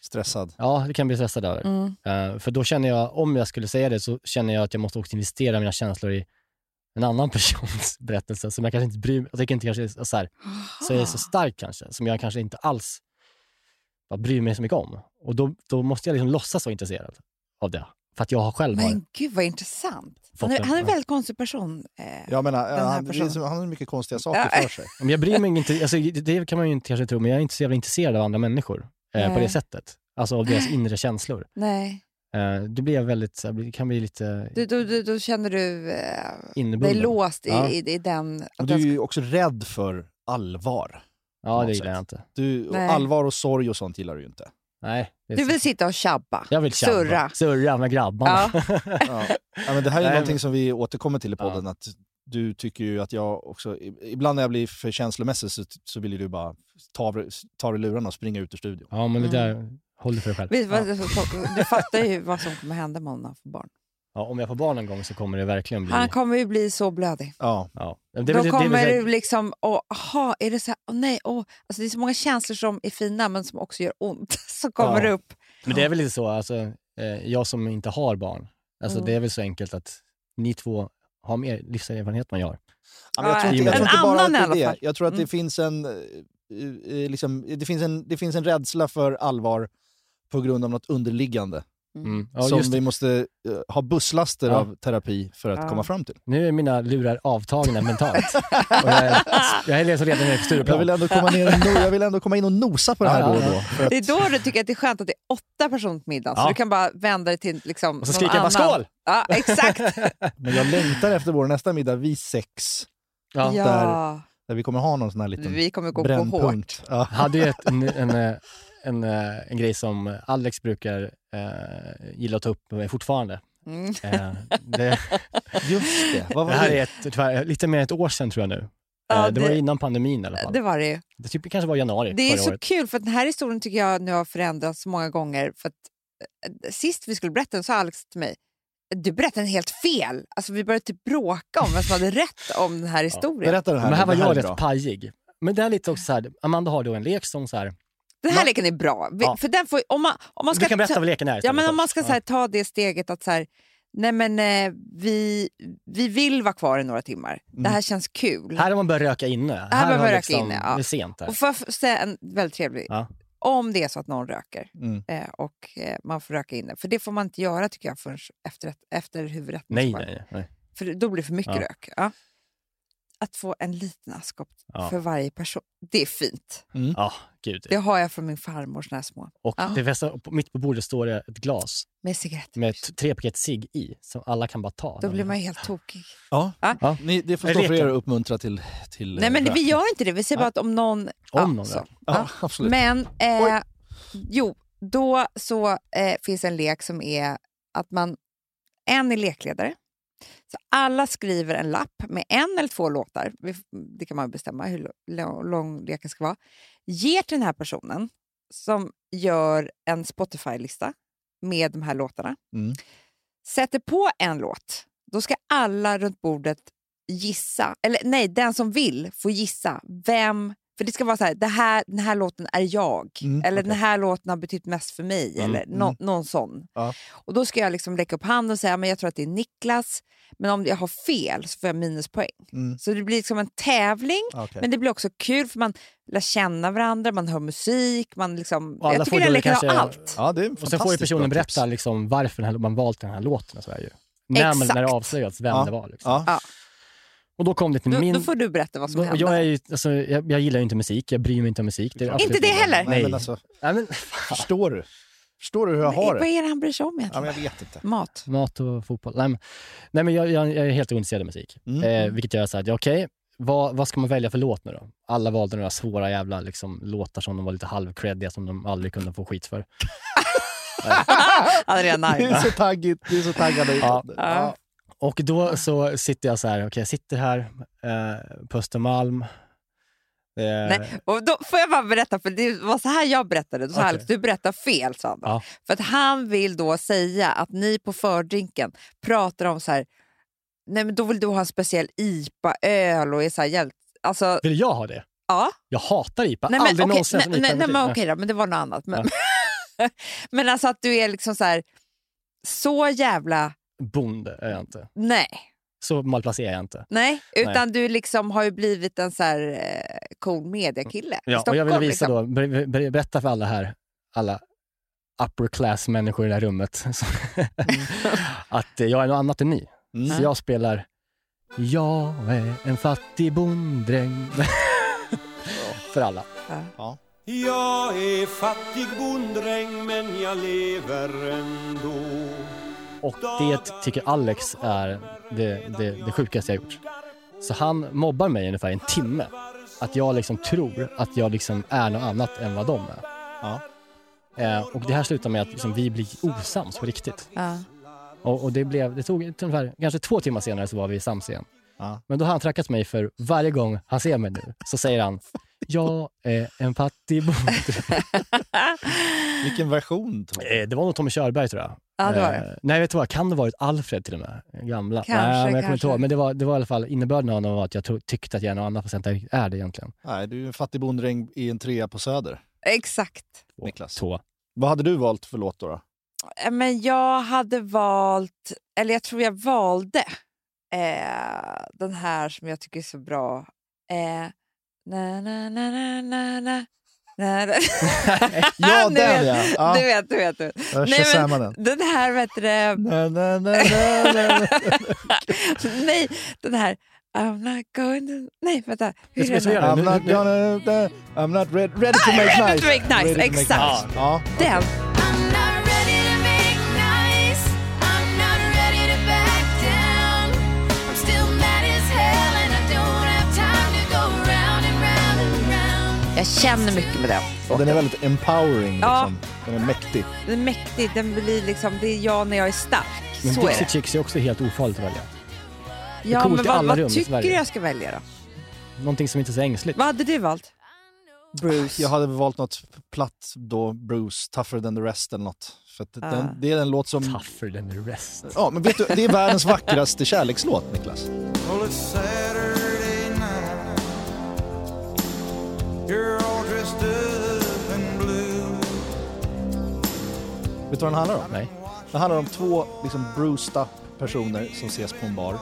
Stressad.
ja, det kan bli stressad över.
Mm.
Eh, för då känner jag, om jag skulle säga det, så känner jag att jag måste också investera mina känslor i en annan persons berättelse som jag kanske inte bryr mig, jag tycker inte kanske är så här, så är
Ah.
så stark kanske, som jag kanske inte alls bara bryr mig så mycket om. Och då, då måste jag liksom låtsas vara intresserad av det. För att jag har själv har,
Men gud vad intressant.
Fått
Han är,
den,
han är en
ja.
väldigt konstig person. Eh,
Jag menar,
här
han, det är
personen.
så- han har mycket konstiga saker
Ja.
för sig.
men jag bryr mig inte, alltså, det- det kan man ju inte kanske tro, men jag är inte så jävla intresserad av andra människor eh, på
Nej.
det sättet. Alltså av deras inre känslor.
Nej,
Eh, det blir jag väldigt, så här, det kan bli lite
du, då, då, då känner du eh, dig
innebunden.
låst i,
Ja.
i, i den...
Och
att
du är
den
ju också rädd för allvar. på
Ja, det
något
gillar
sätt.
jag inte.
Du, och
Nej.
allvar och sorg och sånt gillar du ju inte.
Nej, det är
Du
så-
vill sitta och tjabba.
jag vill tjabba.
surra.
Surra med grabbarna.
Ja.
Ja. Ja, men det här är ju
Nej,
någonting som vi återkommer till i podden. Att du tycker ju att jag också... i- Ibland när jag blir för känslomässig så, så vill ju du bara ta av ta av dig lurarna och springa ut ur studion.
Ja, men det
Mm.
där, håll det för dig själv.
Vet, du vad, du fattar ju vad som kommer hända med honom för barn.
Ja, om jag får barn en gång så kommer det verkligen bli...
Han kommer ju bli så blödig.
Ja.
Ja. Det, det,
Då
det-
kommer
det,
du liksom, åh, aha, är det så här, åh nej, åh. Alltså det är så många känslor som är fina men som också gör ont, som kommer
Ja.
upp.
Men det är väl lite så, alltså, eh, jag som inte har barn, alltså,
Mm.
det är väl så enkelt att ni två har mer livserfarenhet än vad jag har.
Ja, men jag tror inte, jag
En
tror inte bara
annan i
att
alla
det är
fall.
det. Jag tror att det
Mm.
finns en... eh, eh, Liksom, det, finns en det finns en rädsla för allvar på grund av något underliggande
Mm. Ja,
som
just,
vi måste eh, ha busslaster
Ja.
av terapi för att
Ja.
komma fram till.
Nu är mina lurar avtagna mentalt. Och jag, är, jag är liksom redan nere på
Jag
Stureplan.
vill, ändå komma ner, och no- jag vill ändå komma in och nosa på det här
Ja,
då och
ja,
då. För att,
Det är då du tycker att det är skönt att det är åtta personer på middagen,
Ja.
så du kan bara vända dig till liksom,
Och så
någon
skriker jag bara
annan.
skål!
Ja, exakt.
men jag längtar efter vår nästa middag, vi sex,
Ja.
ja,
där vi kommer ha någon sån här liten
vi kommer gå på hårt.
brännpunkt. Ja.
Jag hade ju ett, en, en, eh, en, eh, en grej som Alex brukar eh, gilla att ta upp med mig fortfarande.
Mm.
Eh, det,
Just det, vad
det
var
här
det?
är ett, tyvärr, lite mer än ett år sedan tror jag nu.
Ja,
eh, det var
det-
ju innan pandemin i alla fall.
Det var det ju.
Det typ, kanske var i januari
Det är
förra
så
året.
kul, för att den här historien tycker jag nu har förändrats så många gånger. För att, eh, sist vi skulle berätta den sa Alex till mig, du berättade den helt fel. Alltså, vi började typ bråka om vem som hade rätt om den här historien.
Berätta den här.
Men här
nu,
var
det
jag
är
rätt
bra.
eh, eh, Liksom.
Mm,
eh,
eh, liksom liksom liksom, Mm, Nej,
liksom Alltså, Eh, liksom, Eh,
och då får jag bara berätta, för det var så här jag berättade. Då sa
Okej.
Alex, du berättar fel, sa han. då.
Ja.
För att han vill då säga att ni på fördrinken pratar om så här, nej men då vill du ha en speciell IPA-öl och är så här hjält... Alltså,
Vill jag ha det?
ja.
Jag hatar IPA.
Nej, men,
Aldrig
okej,
någonsin som
nej, nej,
IPA.
nej, men, okej då, men det var något annat. Men, men alltså att du är liksom så här, så jävla,
Eh, Bonde är jag inte.
nej.
Så malplacerad är jag inte.
Nej, utan du liksom har ju blivit en så här eh, cool mediakille. i
Ja, och jag vill
Stockholm,
visa
liksom.
då, ber, ber, berätta för alla här, alla upper class människor i det här rummet, så-
Mm.
att eh, jag är något annat än ni. Så jag spelar Jag är en fattig bonddräng. för alla.
Jag är fattig bonddräng men jag lever ändå
Och det tycker Alex är det, det, det sjukaste jag gjort. Så han mobbar mig i ungefär en timme. Att jag liksom tror att jag liksom är något annat än vad de är.
Ja.
Eh, och det här slutar med att liksom vi blir osams på riktigt.
Ja.
Och, och det, blev, det tog ungefär, kanske två timmar senare så var vi sams igen.
Ja.
Men då har han trackat mig för varje gång han ser mig nu så säger han jag är en fattig bonde.
Vilken version? Tror jag.
Eh, Det var nog Tommy Körberg tror jag.
Ja, det var det.
Eh, nej, vet du vad? Kan det varit Alfred till och med? Gamla.
Kanske,
nej, men jag kommer
kanske.
inte ihåg. Men det var, det var i alla fall innebörden av det var att jag tro, tyckte att jag är någon annan procent än jag är det egentligen.
Nej, du är en fattig bonddräng i en trea på Söder,
Exakt.
Niklas.
Så.
Vad hade du valt för låt då? då?
Eh, Men jag hade valt, eller jag tror jag valde eh, den här som jag tycker är så bra. Eh, na, na, na, na, na, na. na, na.
Ja, den
Du vet,
ja! ja.
Du vet, du vet. Du vet.
Jag
Nej, men-
shazammar den.
Den här, vet du, det,
Na, na, na, na, na.
nej, den här I'm not going to... Nej, vänta. Hur
Jag
är
ska
den?
göra
I'm
det. Nu-
not
nu-
gonna... na, I'm not ready, ready to make
Ah, ready
nice.
to make nice,
Ready to make
exakt.
nice. Ah, Ja.
Den.
I'm not ready to make nice. I'm not ready to back down. I'm still mad as hell and I don't have time to go round and round and round.
Jag känner mycket med den.
Och den är väldigt empowering.
Ja.
Liksom. Den är mäktig.
Den är mäktig. Den blir liksom, det är jag när jag är stark.
Men
Så är
Dixie
det.
Chicks är också helt ofarligt att välja.
Ja,
coolt
men
i
vad,
alla rum
vad
i
tycker du
Sverige.
jag ska välja då?
Någonting som inte är så ängsligt.
Vad hade du valt? Bruce.
Jag hade valt något platt då, Bruce, Tougher than the rest eller något. För att
Ah.
den, det är en låt som...
Tougher than the rest.
Ja, men vet du, det är världens vackraste kärlekslåt, Niklas.
Well, it's Saturday night. You're all dressed up in blue.
Vet du vad den handlar om?
Nej.
Det handlar om två liksom bruised up personer som ses på en bar.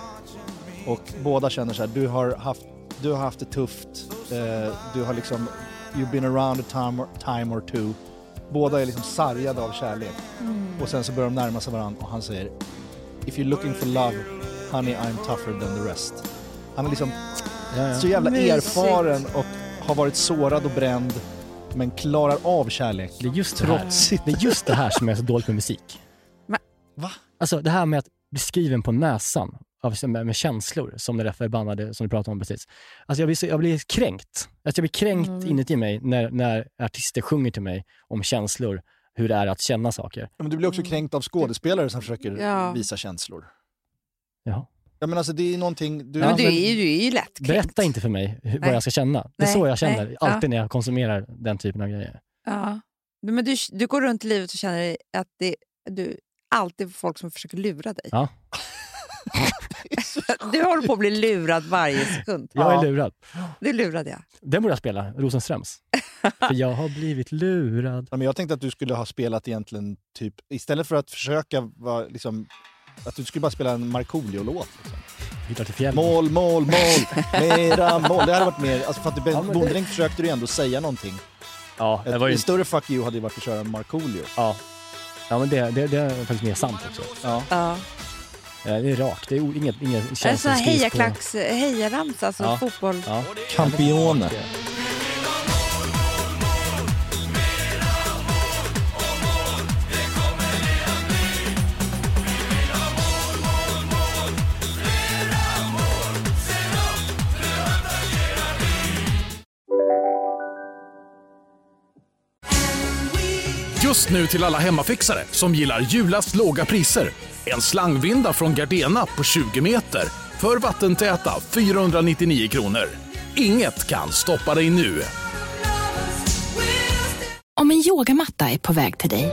Och båda känner så här, du har haft, du har haft det tufft, eh, du har liksom, you've been around a time or, time or two. Båda är liksom sargade av kärlek.
Mm.
Och sen så börjar de närma sig varandra och han säger, if you're looking for love, honey I'm tougher than the rest. Han är liksom så jävla
Mysigt.
erfaren och har varit sårad och bränd, men klarar av kärlek.
Det är just det här,
Trotsigt.
det är just det här som är så dåligt med musik.
Men-
Va?
Alltså det här med att bli skriven på näsan av, med, med känslor, som det där förbannade som du pratade om precis. Alltså jag blir, så, jag blir kränkt. Alltså jag blir kränkt
Mm.
inuti mig när, när artister sjunger till mig om känslor, hur det är att känna saker.
Ja, Men du blir också kränkt av skådespelare som försöker
Ja.
visa känslor.
Jaha.
Ja, men alltså, det är någonting... Du,
Ja,
men du,
men-
är, ju- du är ju lättkränkt.
Berätta inte för mig hur,
Nej.
vad jag ska känna. Det är
Nej,
så jag känner
nej, ja.
alltid när jag konsumerar den typen av grejer.
Ja. Du- Men du, du går runt i livet och känner dig att det, du alltid får folk som försöker lura dig.
Ja.
du håller på att bli lurad varje sekund.
Jag är lurad.
Det lurade jag.
Den borde jag spela, Rosenströms. för jag har blivit lurad.
ja, men jag tänkte att du skulle ha spelat egentligen typ... Istället för att försöka vara liksom... Att du skulle bara spela en Markoolio-låt. Liksom.
Hittar till fjällen.
Mål, mål, mål, mera mål. Det hade varit mer... Alltså, för att
Ja, men
ja,
det-
Bonddräng försökte du ändå säga någonting.
Ja,
Ett,
det var ju
En större fuck you hade ju varit att köra en Markoolio.
Ja. Ja, men det, det, det är faktiskt mer sant också.
Ja.
Ja.
Eh, Det är rakt. Det är o- inget, inget
En sån
känsligt
här hejaklacks, eh, hejaramsa, alltså
Ja.
fotboll.
Ja.
Campione.
Just nu till alla hemmafixare som gillar Julas låga priser. En slangvinda från Gardena på 20 meter för vattentäta 499 kronor. Inget kan stoppa dig nu.
Om en yogamatta är på väg till dig,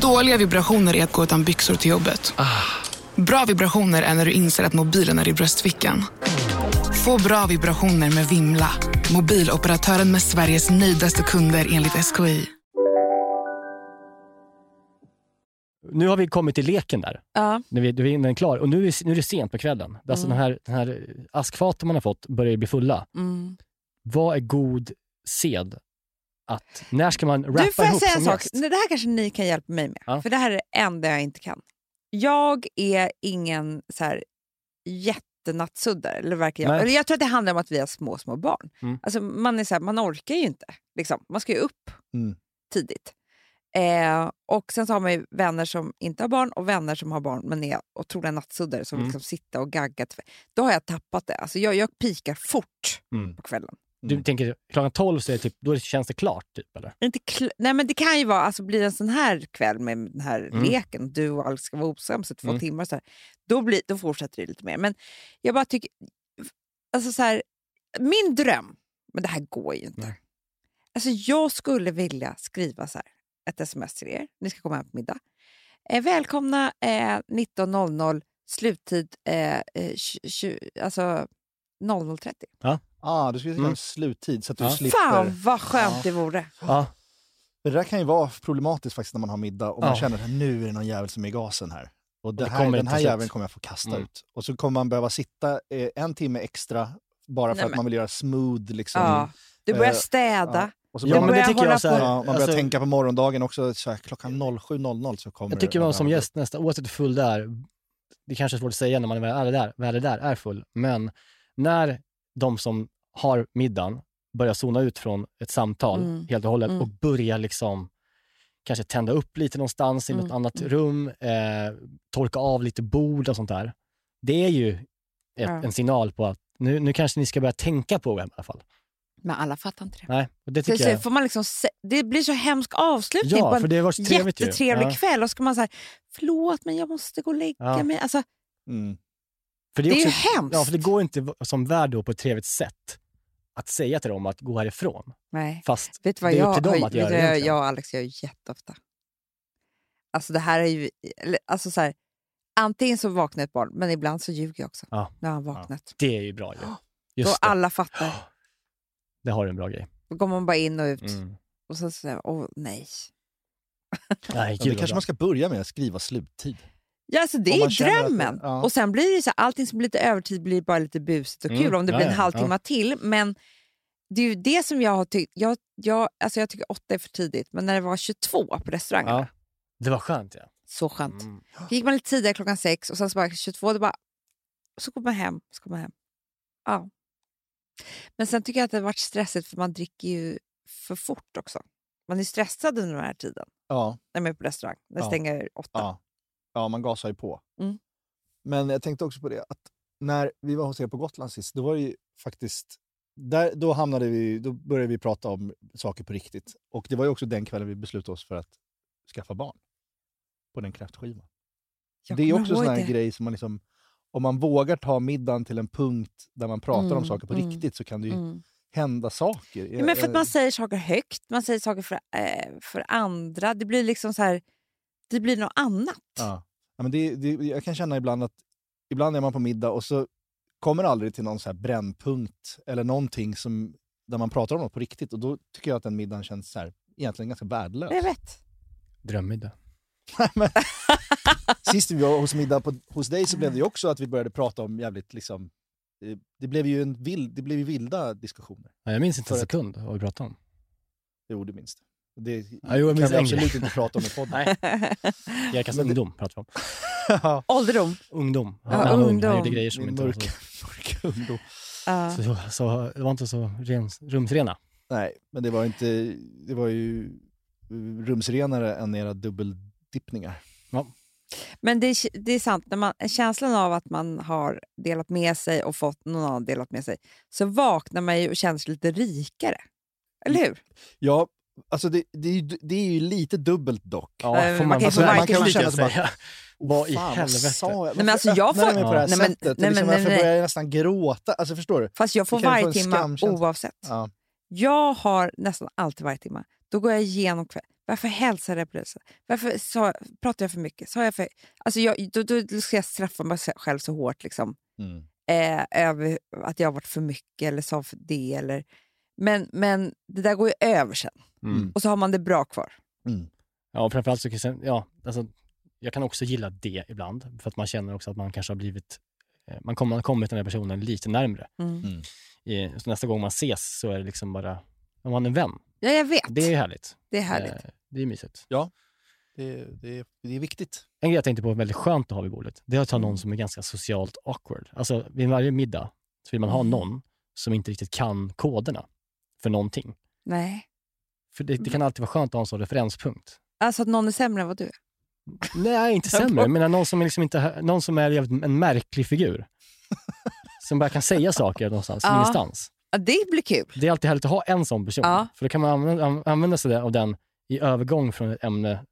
Dåliga vibrationer är att gå utan byxor till jobbet. Bra vibrationer är när du inser att mobilen är i bröstfickan. Få bra vibrationer med Vimla. Mobiloperatören med Sveriges nöjdaste kunder enligt SKI.
Nu har vi kommit till leken där.
Ja.
Nu är, nu är den klar och nu är, nu är det sent på kvällen. Alltså den, här, den här eh, askfaten man har fått börjar bli fulla.
Mm.
Vad är god sed? Att, när ska man rappa
Du, får jag
ihop
säga en
som
sak?
gäst?
Nej, Det här kanske ni kan hjälpa mig med.
Ja.
För det här är det enda jag inte kan. Jag är ingen så här, jättenattsuddare. Eller verkligen.
Nej.
Eller jag tror att det handlar om att vi har små, små barn.
Mm.
Alltså, man, är så här, man orkar ju inte. Liksom. Man ska ju upp
Mm.
tidigt. Eh, och Sen så har man ju vänner som inte har barn och vänner som har barn men är otroliga nattsuddare som
Mm.
liksom sitter och gaggar. till- Då har jag tappat det. Alltså, jag, jag pikar fort
Mm.
på kvällen.
Du tänker klockan 12 så är det typ, då känns det klart? Typ, eller?
Inte kl- Nej, men det kan ju vara, alltså blir det en sån här kväll med den här
Mm.
leken, du och Alex ska vara osams i två
Mm.
timmar, och så här, då, blir, då fortsätter det lite mer. Men jag bara tycker, alltså så här, min dröm, men det här går ju inte.
Nej.
Alltså jag skulle vilja skriva så här, ett sms till er, ni ska komma hem på middag. Eh, välkomna eh, 19.00, sluttid eh, eh, tju- tju- alltså 00.30.
Ah, du skulle säga
Mm.
en sluttid så att du
Ja.
slipper.
Fan vad skönt
Ja.
det vore.
Ja.
Det där kan ju vara problematiskt faktiskt när man har middag och man
Ja.
känner att nu är det någon jävel som är i gasen här. Och det
det
här,
kommer
den
inte
här
slut.
jäveln kommer jag få kasta
Mm.
ut. Och så kommer man behöva sitta eh, en timme extra bara för
Nej,
att
men-
man vill göra smooth. Liksom.
Ja. Du börjar
Eh,
städa.
Och så
Ja,
börjar
men det
man,
börjar
tycker
hålla
jag så här,
ja, man börjar
alltså,
tänka på morgondagen också. Så här, klockan 07.00 så kommer
Jag tycker
det-
man som gäst nästa, oavsett hur full det är, det kanske är svårt att säga när man väl är där, väl är där är full, men när de som har middagen börjar zona ut från ett samtal
Mm.
helt och hållet
Mm.
och börjar liksom kanske tända upp lite någonstans i något
Mm.
annat
Mm.
rum, eh, torka av lite bord och sånt där. Det är ju ett,
Ja.
en signal på att nu, nu kanske ni ska börja tänka på det i alla fall.
Men alla fattar inte det.
Nej, och det
Till
tycker jag.
slut får man liksom se, det blir så hemsk avslutning på
Ja, för
en
det har varit så trevligt ju.
jättetrevlig
Ja.
kväll. Och ska man säga förlåt men jag måste gå och lägga
Ja.
mig. Alltså,
Mm.
För
Det är ju
också-
hemskt.
Ja, för det går inte som värd då på ett trevligt sätt att säga till dem att gå härifrån.
nej.
Fast
Vet du vad
det är
jag,
upp till dem
har-
att
vet
göra
du vad jag,
egentligen.
jag och Alex gör jätteofta? Alltså det här är ju... eller, Alltså så här, antingen så vaknar ett barn, men ibland så ljuger jag också.
Ja.
När han vaknat.
det är ju bra ju.
Då
Just det,
alla fattar.
det har du en bra grej.
Då går man bara in och ut.
Mm.
Och sen så säger jag, åh nej.
Ja,
Nej, gud
det
vad
kanske
bra.
man ska börja med, att skriva sluttid.
Ja, alltså det
Om
är
man
ju
känner att det-
drömmen.
ja.
Och sen blir det så här, allting som blir lite övertid blir bara lite busigt och
Mm,
kul om det
ja,
blir en
ja,
halvtimme till. Men det är ju det som jag har tyckt. Jag, jag, alltså jag tycker åtta är för tidigt, men när det var 22 på restaurangen,
Ja. Det var skönt ja.
så skönt.
Mm.
Då gick man lite tidigare klockan sex och sen så bara 22, då bara, så går man hem. Så går man hem. Ja. Men sen tycker jag att det har varit stressigt för man dricker ju för fort också. Man är stressad under den här tiden
Ja,
när man är på restaurang. När det
Ja.
stänger åtta.
ja. ja man gasar ju på.
Mm.
Men jag tänkte också på det, att när vi var hos er på Gotland sist, då var det ju faktiskt... Där, då, hamnade vi, då började vi prata om saker på riktigt. Och det var ju också den kvällen vi beslutade oss för att skaffa barn. På den kräftskivan.
Jag
det är
kommer
också en
ihåg
sån här
det.
grej som man liksom... Om man vågar ta middagen till en punkt där man pratar
Mm,
om saker på
mm,
riktigt så kan det ju
Mm.
hända saker. Eh,
Ja, men för att
Jag-
man säger saker högt, man säger saker för, eh, för andra. Det blir liksom så här, det blir något annat.
Ja. Ja, men det, det, jag kan känna ibland att ibland är man på middag och så kommer det aldrig till någon så här brännpunkt eller någonting som, där man pratar om något på riktigt. Och då tycker jag att den middagen känns så här, egentligen ganska värdelös.
Jag vet.
Drömmiddag.
Sist vi var hos middag på, hos dig så blev det ju också att vi började prata om jävligt liksom... eh, Det blev ju en vild, det blev ju vilda diskussioner.
Ja, jag minns inte en
För att-
sekund vad vi pratade om.
Jo, det minns du. Det
Ja, jo, jag
kan
minns
vi
en grej.
absolut inte prata om i podden.
Nej, Jerkas
Men det-
ungdom pratar vi om.
Ålderdom.
Ungdom.
Ja,
Han var ung. Han
ungdom.
gjorde grejer som
Min
inte var så...
mörka, mörka ungdom.
Ja.
Så, så det var inte så rens, rumsrena.
Nej, men det var, inte, det var ju eh, rumsrenare än era dubbeldippningar.
Men det, är- det är sant, när man, känslan av att man har delat med sig och fått någon annan delat med sig, så vaknar man ju och känner sig lite rikare. Eller hur?
Ja, alltså det, det, är, ju, det är ju lite dubbelt dock.
Ja,
Nej, men Eh, man kan ju
alltså,
få
man
varken-
kan ju
Lika
känna sig bara,
säga. Vad i
fan,
helvete?
Vad sa jag? Varför
men alltså, jag
öppnade
får-
mig på det här
nej, men-
sättet? Och
nej, men-
liksom,
nej,
varför
nej.
börjar jag nästan gråta? Alltså förstår du?
Fast jag får
kan ju få en
varje timme
skamkänsla.
oavsett.
Ja.
Jag har nästan alltid varje timme. Då går jag igenom kväll. Varför hälsade jag polisen? Varför sa, pratade jag för mycket? Sa jag för, alltså jag, då, då ska jag straffa mig själv så hårt liksom,
Mm.
eh, över att jag har varit för mycket eller sa för det. Eller, men, men det där går ju över sen.
Mm.
Och så har man det bra kvar.
Ja, och framförallt så kan jag, säga- ja, alltså, jag kan också gilla det ibland, för att man känner också att man kanske har blivit, eh, man kommer har kommit den här personen lite närmre.
Mm.
I, så nästa gång man ses så är det liksom bara, ja, man är en vän.
Ja, jag vet.
Det är ju härligt.
Det är härligt.
Eh, Det är mysigt.
Det, det, det är viktigt.
En grej jag tänkte på är väldigt skönt att ha vid bordet, det är att ha någon som är ganska socialt awkward. Alltså vid varje middag så vill man ha någon som inte riktigt kan koderna för någonting.
Nej.
För det, det kan alltid vara skönt att ha en sån referenspunkt.
Alltså att någon är sämre än vad du är.
Nej, inte sämre. Men någon som är, liksom inte, någon som är jävligt- en märklig figur. Som bara kan säga saker någonstans,
Ja.
ingenstans.
Ja, det blir kul.
Det är alltid härligt att ha en sån person.
Ja.
För då kan man använda, använda sig av den i övergång från ett ämne,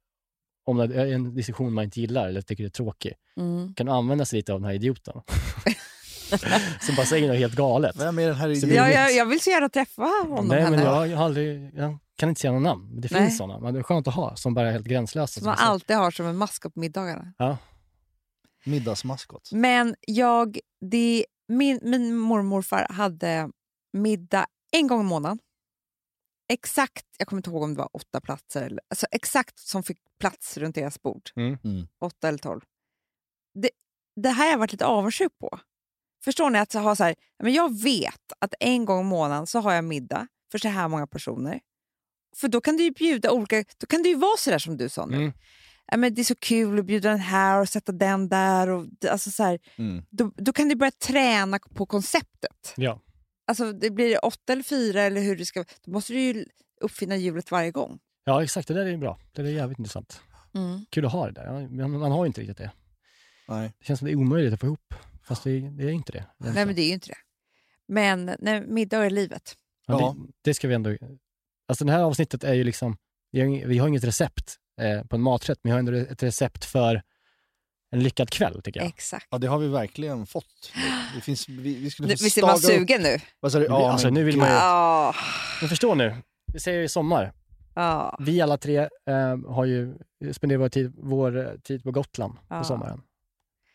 om det är en diskussion man inte gillar eller tycker är tråkig.
Mm.
kan använda sig lite av den här idioten. som bara säger något helt galet.
Vem är den här
Så
idioten?
det är
Ja, jag,
mitt-
jag vill så gärna träffa honom.
Nej, men
henne.
jag, har aldrig, jag kan inte säga några namn. Men det
Nej.
finns såna. Men det är skönt att ha, som bara är helt gränslösa.
Som man
är så-
alltid har som en maskot på middagarna.
ja.
Middagsmaskot.
Men jag, det, min, min mormor och morfar hade middag en gång i månaden. Exakt, jag kommer inte ihåg om det var åtta platser, eller, alltså exakt som fick plats runt deras bord.
Mm.
Mm.
Åtta eller tolv. Det, det här har jag varit lite avundsjuk på. Förstår ni? att ha så här, men Jag vet att en gång i månaden så har jag middag för så här många personer. För då kan du ju bjuda olika, då kan det ju vara så där som du sa nu.
Mm.
Ja, men det är så kul att bjuda den här och sätta den där. Och, alltså så här,
Mm.
då, då kan du börja träna på konceptet.
Ja.
Alltså, det blir det åtta eller fyra eller hur det ska Då måste du ju uppfinna hjulet varje gång.
ja, exakt. Det där är bra. Det där är jävligt intressant. Kul att ha det där. Ja, men Man har ju inte riktigt det.
Nej.
Det känns som det är omöjligt att få ihop. Fast det, det är inte det.
Nej, men det är ju inte det. Men nej, middag är livet.
Men
Ja.
det, det ska vi ändå... Alltså det här avsnittet är ju liksom... Vi har, ing- vi har inget recept eh, på en maträtt, men vi har ändå ett recept för en lyckad kväll, tycker jag.
Exakt.
Ja, det har vi verkligen fått. Det finns, vi, vi skulle
Nu,
få
visst är man
staga upp-
sugen nu? Ah,
Vad sa du?
Nu blir- alltså,
men
nu vill man ju-
gud.
Ja.
Men förstå nu, vi säger ju sommar.
ja.
Vi alla tre eh, har ju spenderat vår tid, vår eh, tid på Gotland
Ja.
på sommaren.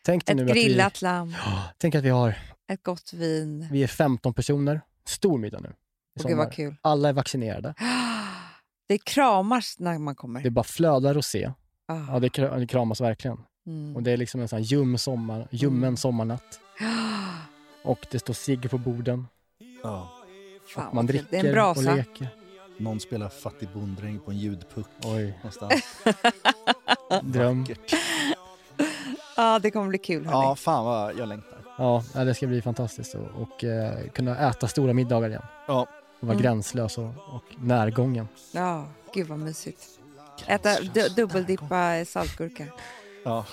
Tänk dig
Ett
nu
grillat
att
lamm,
vi, Ja, Tänk att vi, har,
ett gott vin.
vi är 15 personer. Stor middag nu. i
Och gud
sommar.
vad kul.
Alla är vaccinerade.
Det kramas när man kommer.
Det bara flödar rosé.
Ah.
Ja, det kra- det kramas verkligen.
Mm.
Och det är liksom en sån här ljum sommar, ljummen
Mm.
sommarnatt. Och det står cigg på borden.
Ja.
Fan, vad
Man
kul.
dricker
det är en
och
brasa.
leker.
Någon spelar fattig bonddräng på en ljudpuck
Oj,
någonstans.
dröm.
Vackert.
Ja, det kommer bli kul. hörni.
Ja, fan vad jag längtar.
Ja, nej, det ska bli fantastiskt. Och, och eh, kunna äta stora middagar igen.
Ja.
Och vara
Mm.
gränslös och, och närgången.
Ja, gud vad mysigt. Äta du- dubbeldippa saltgurka.
Ja.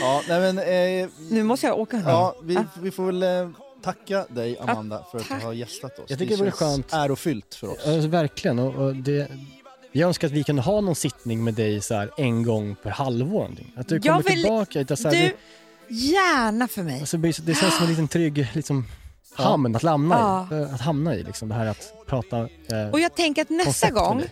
ja, nej men... Eh,
Nu måste jag åka.
ja, vi, vi får väl eh, tacka dig, Amanda, för att
tack.
du har gästat oss.
Jag tycker det vore
känns
skönt.
ärofyllt för oss.
Ja, Alltså, verkligen. Och, och det, jag önskar att vi kunde ha någon sittning med dig så här en gång per halvår. någonting. Att du
Jag
kommer
vill-
tillbaka. hit och Så här,
Du,
det,
gärna för mig.
alltså, det känns som en liten trygg liksom, hamn att, hamna
Ja.
i, att hamna i. Liksom, det här att prata eh,
Och jag tänker att nästa
koncept med
gång,
dig.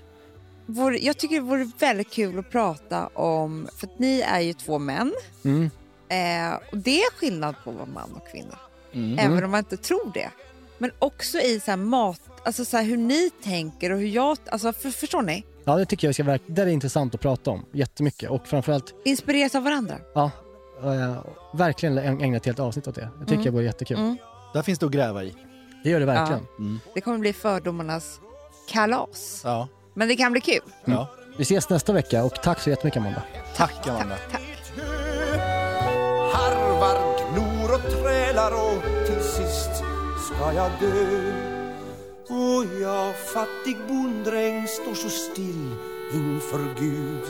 vore, jag tycker det vore väldigt kul att prata om, för att ni är ju två män.
Mm.
Eh, och det är skillnad på att vara man och kvinna,
Mm.
även om man inte tror det. Men också i så här mat, alltså så här hur ni tänker och hur jag, alltså för, förstår ni?
Ja, det tycker jag ska verka. Det är intressant att prata om jättemycket och framförallt
Inspireras av varandra.
ja, eh, verkligen äg- ägna ett helt avsnitt åt det. Jag tycker
Mm.
det vore jättekul.
Mm.
Där finns det att gräva i.
Det gör det verkligen.
Det kommer bli fördomarnas kalas.
Ja.
Men det kan bli kul.
ja.
Vi ses nästa vecka och tack så jättemycket Amanda.
Tack, Amanda.
Tack.
Harvar, gnor och trälar dagar och till sist ska jag dö. Och jag, fattig bonddräng, står så still inför Gud.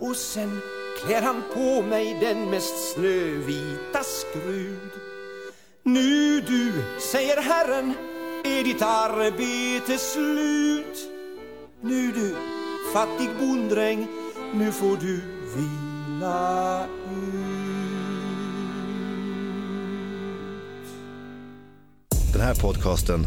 Och sen klär han på mig den mest snövita skrud. Nu du, säger Herren, är ditt arbete slut. Nu du, fattig bonddräng, nu får du vila
Den här podcasten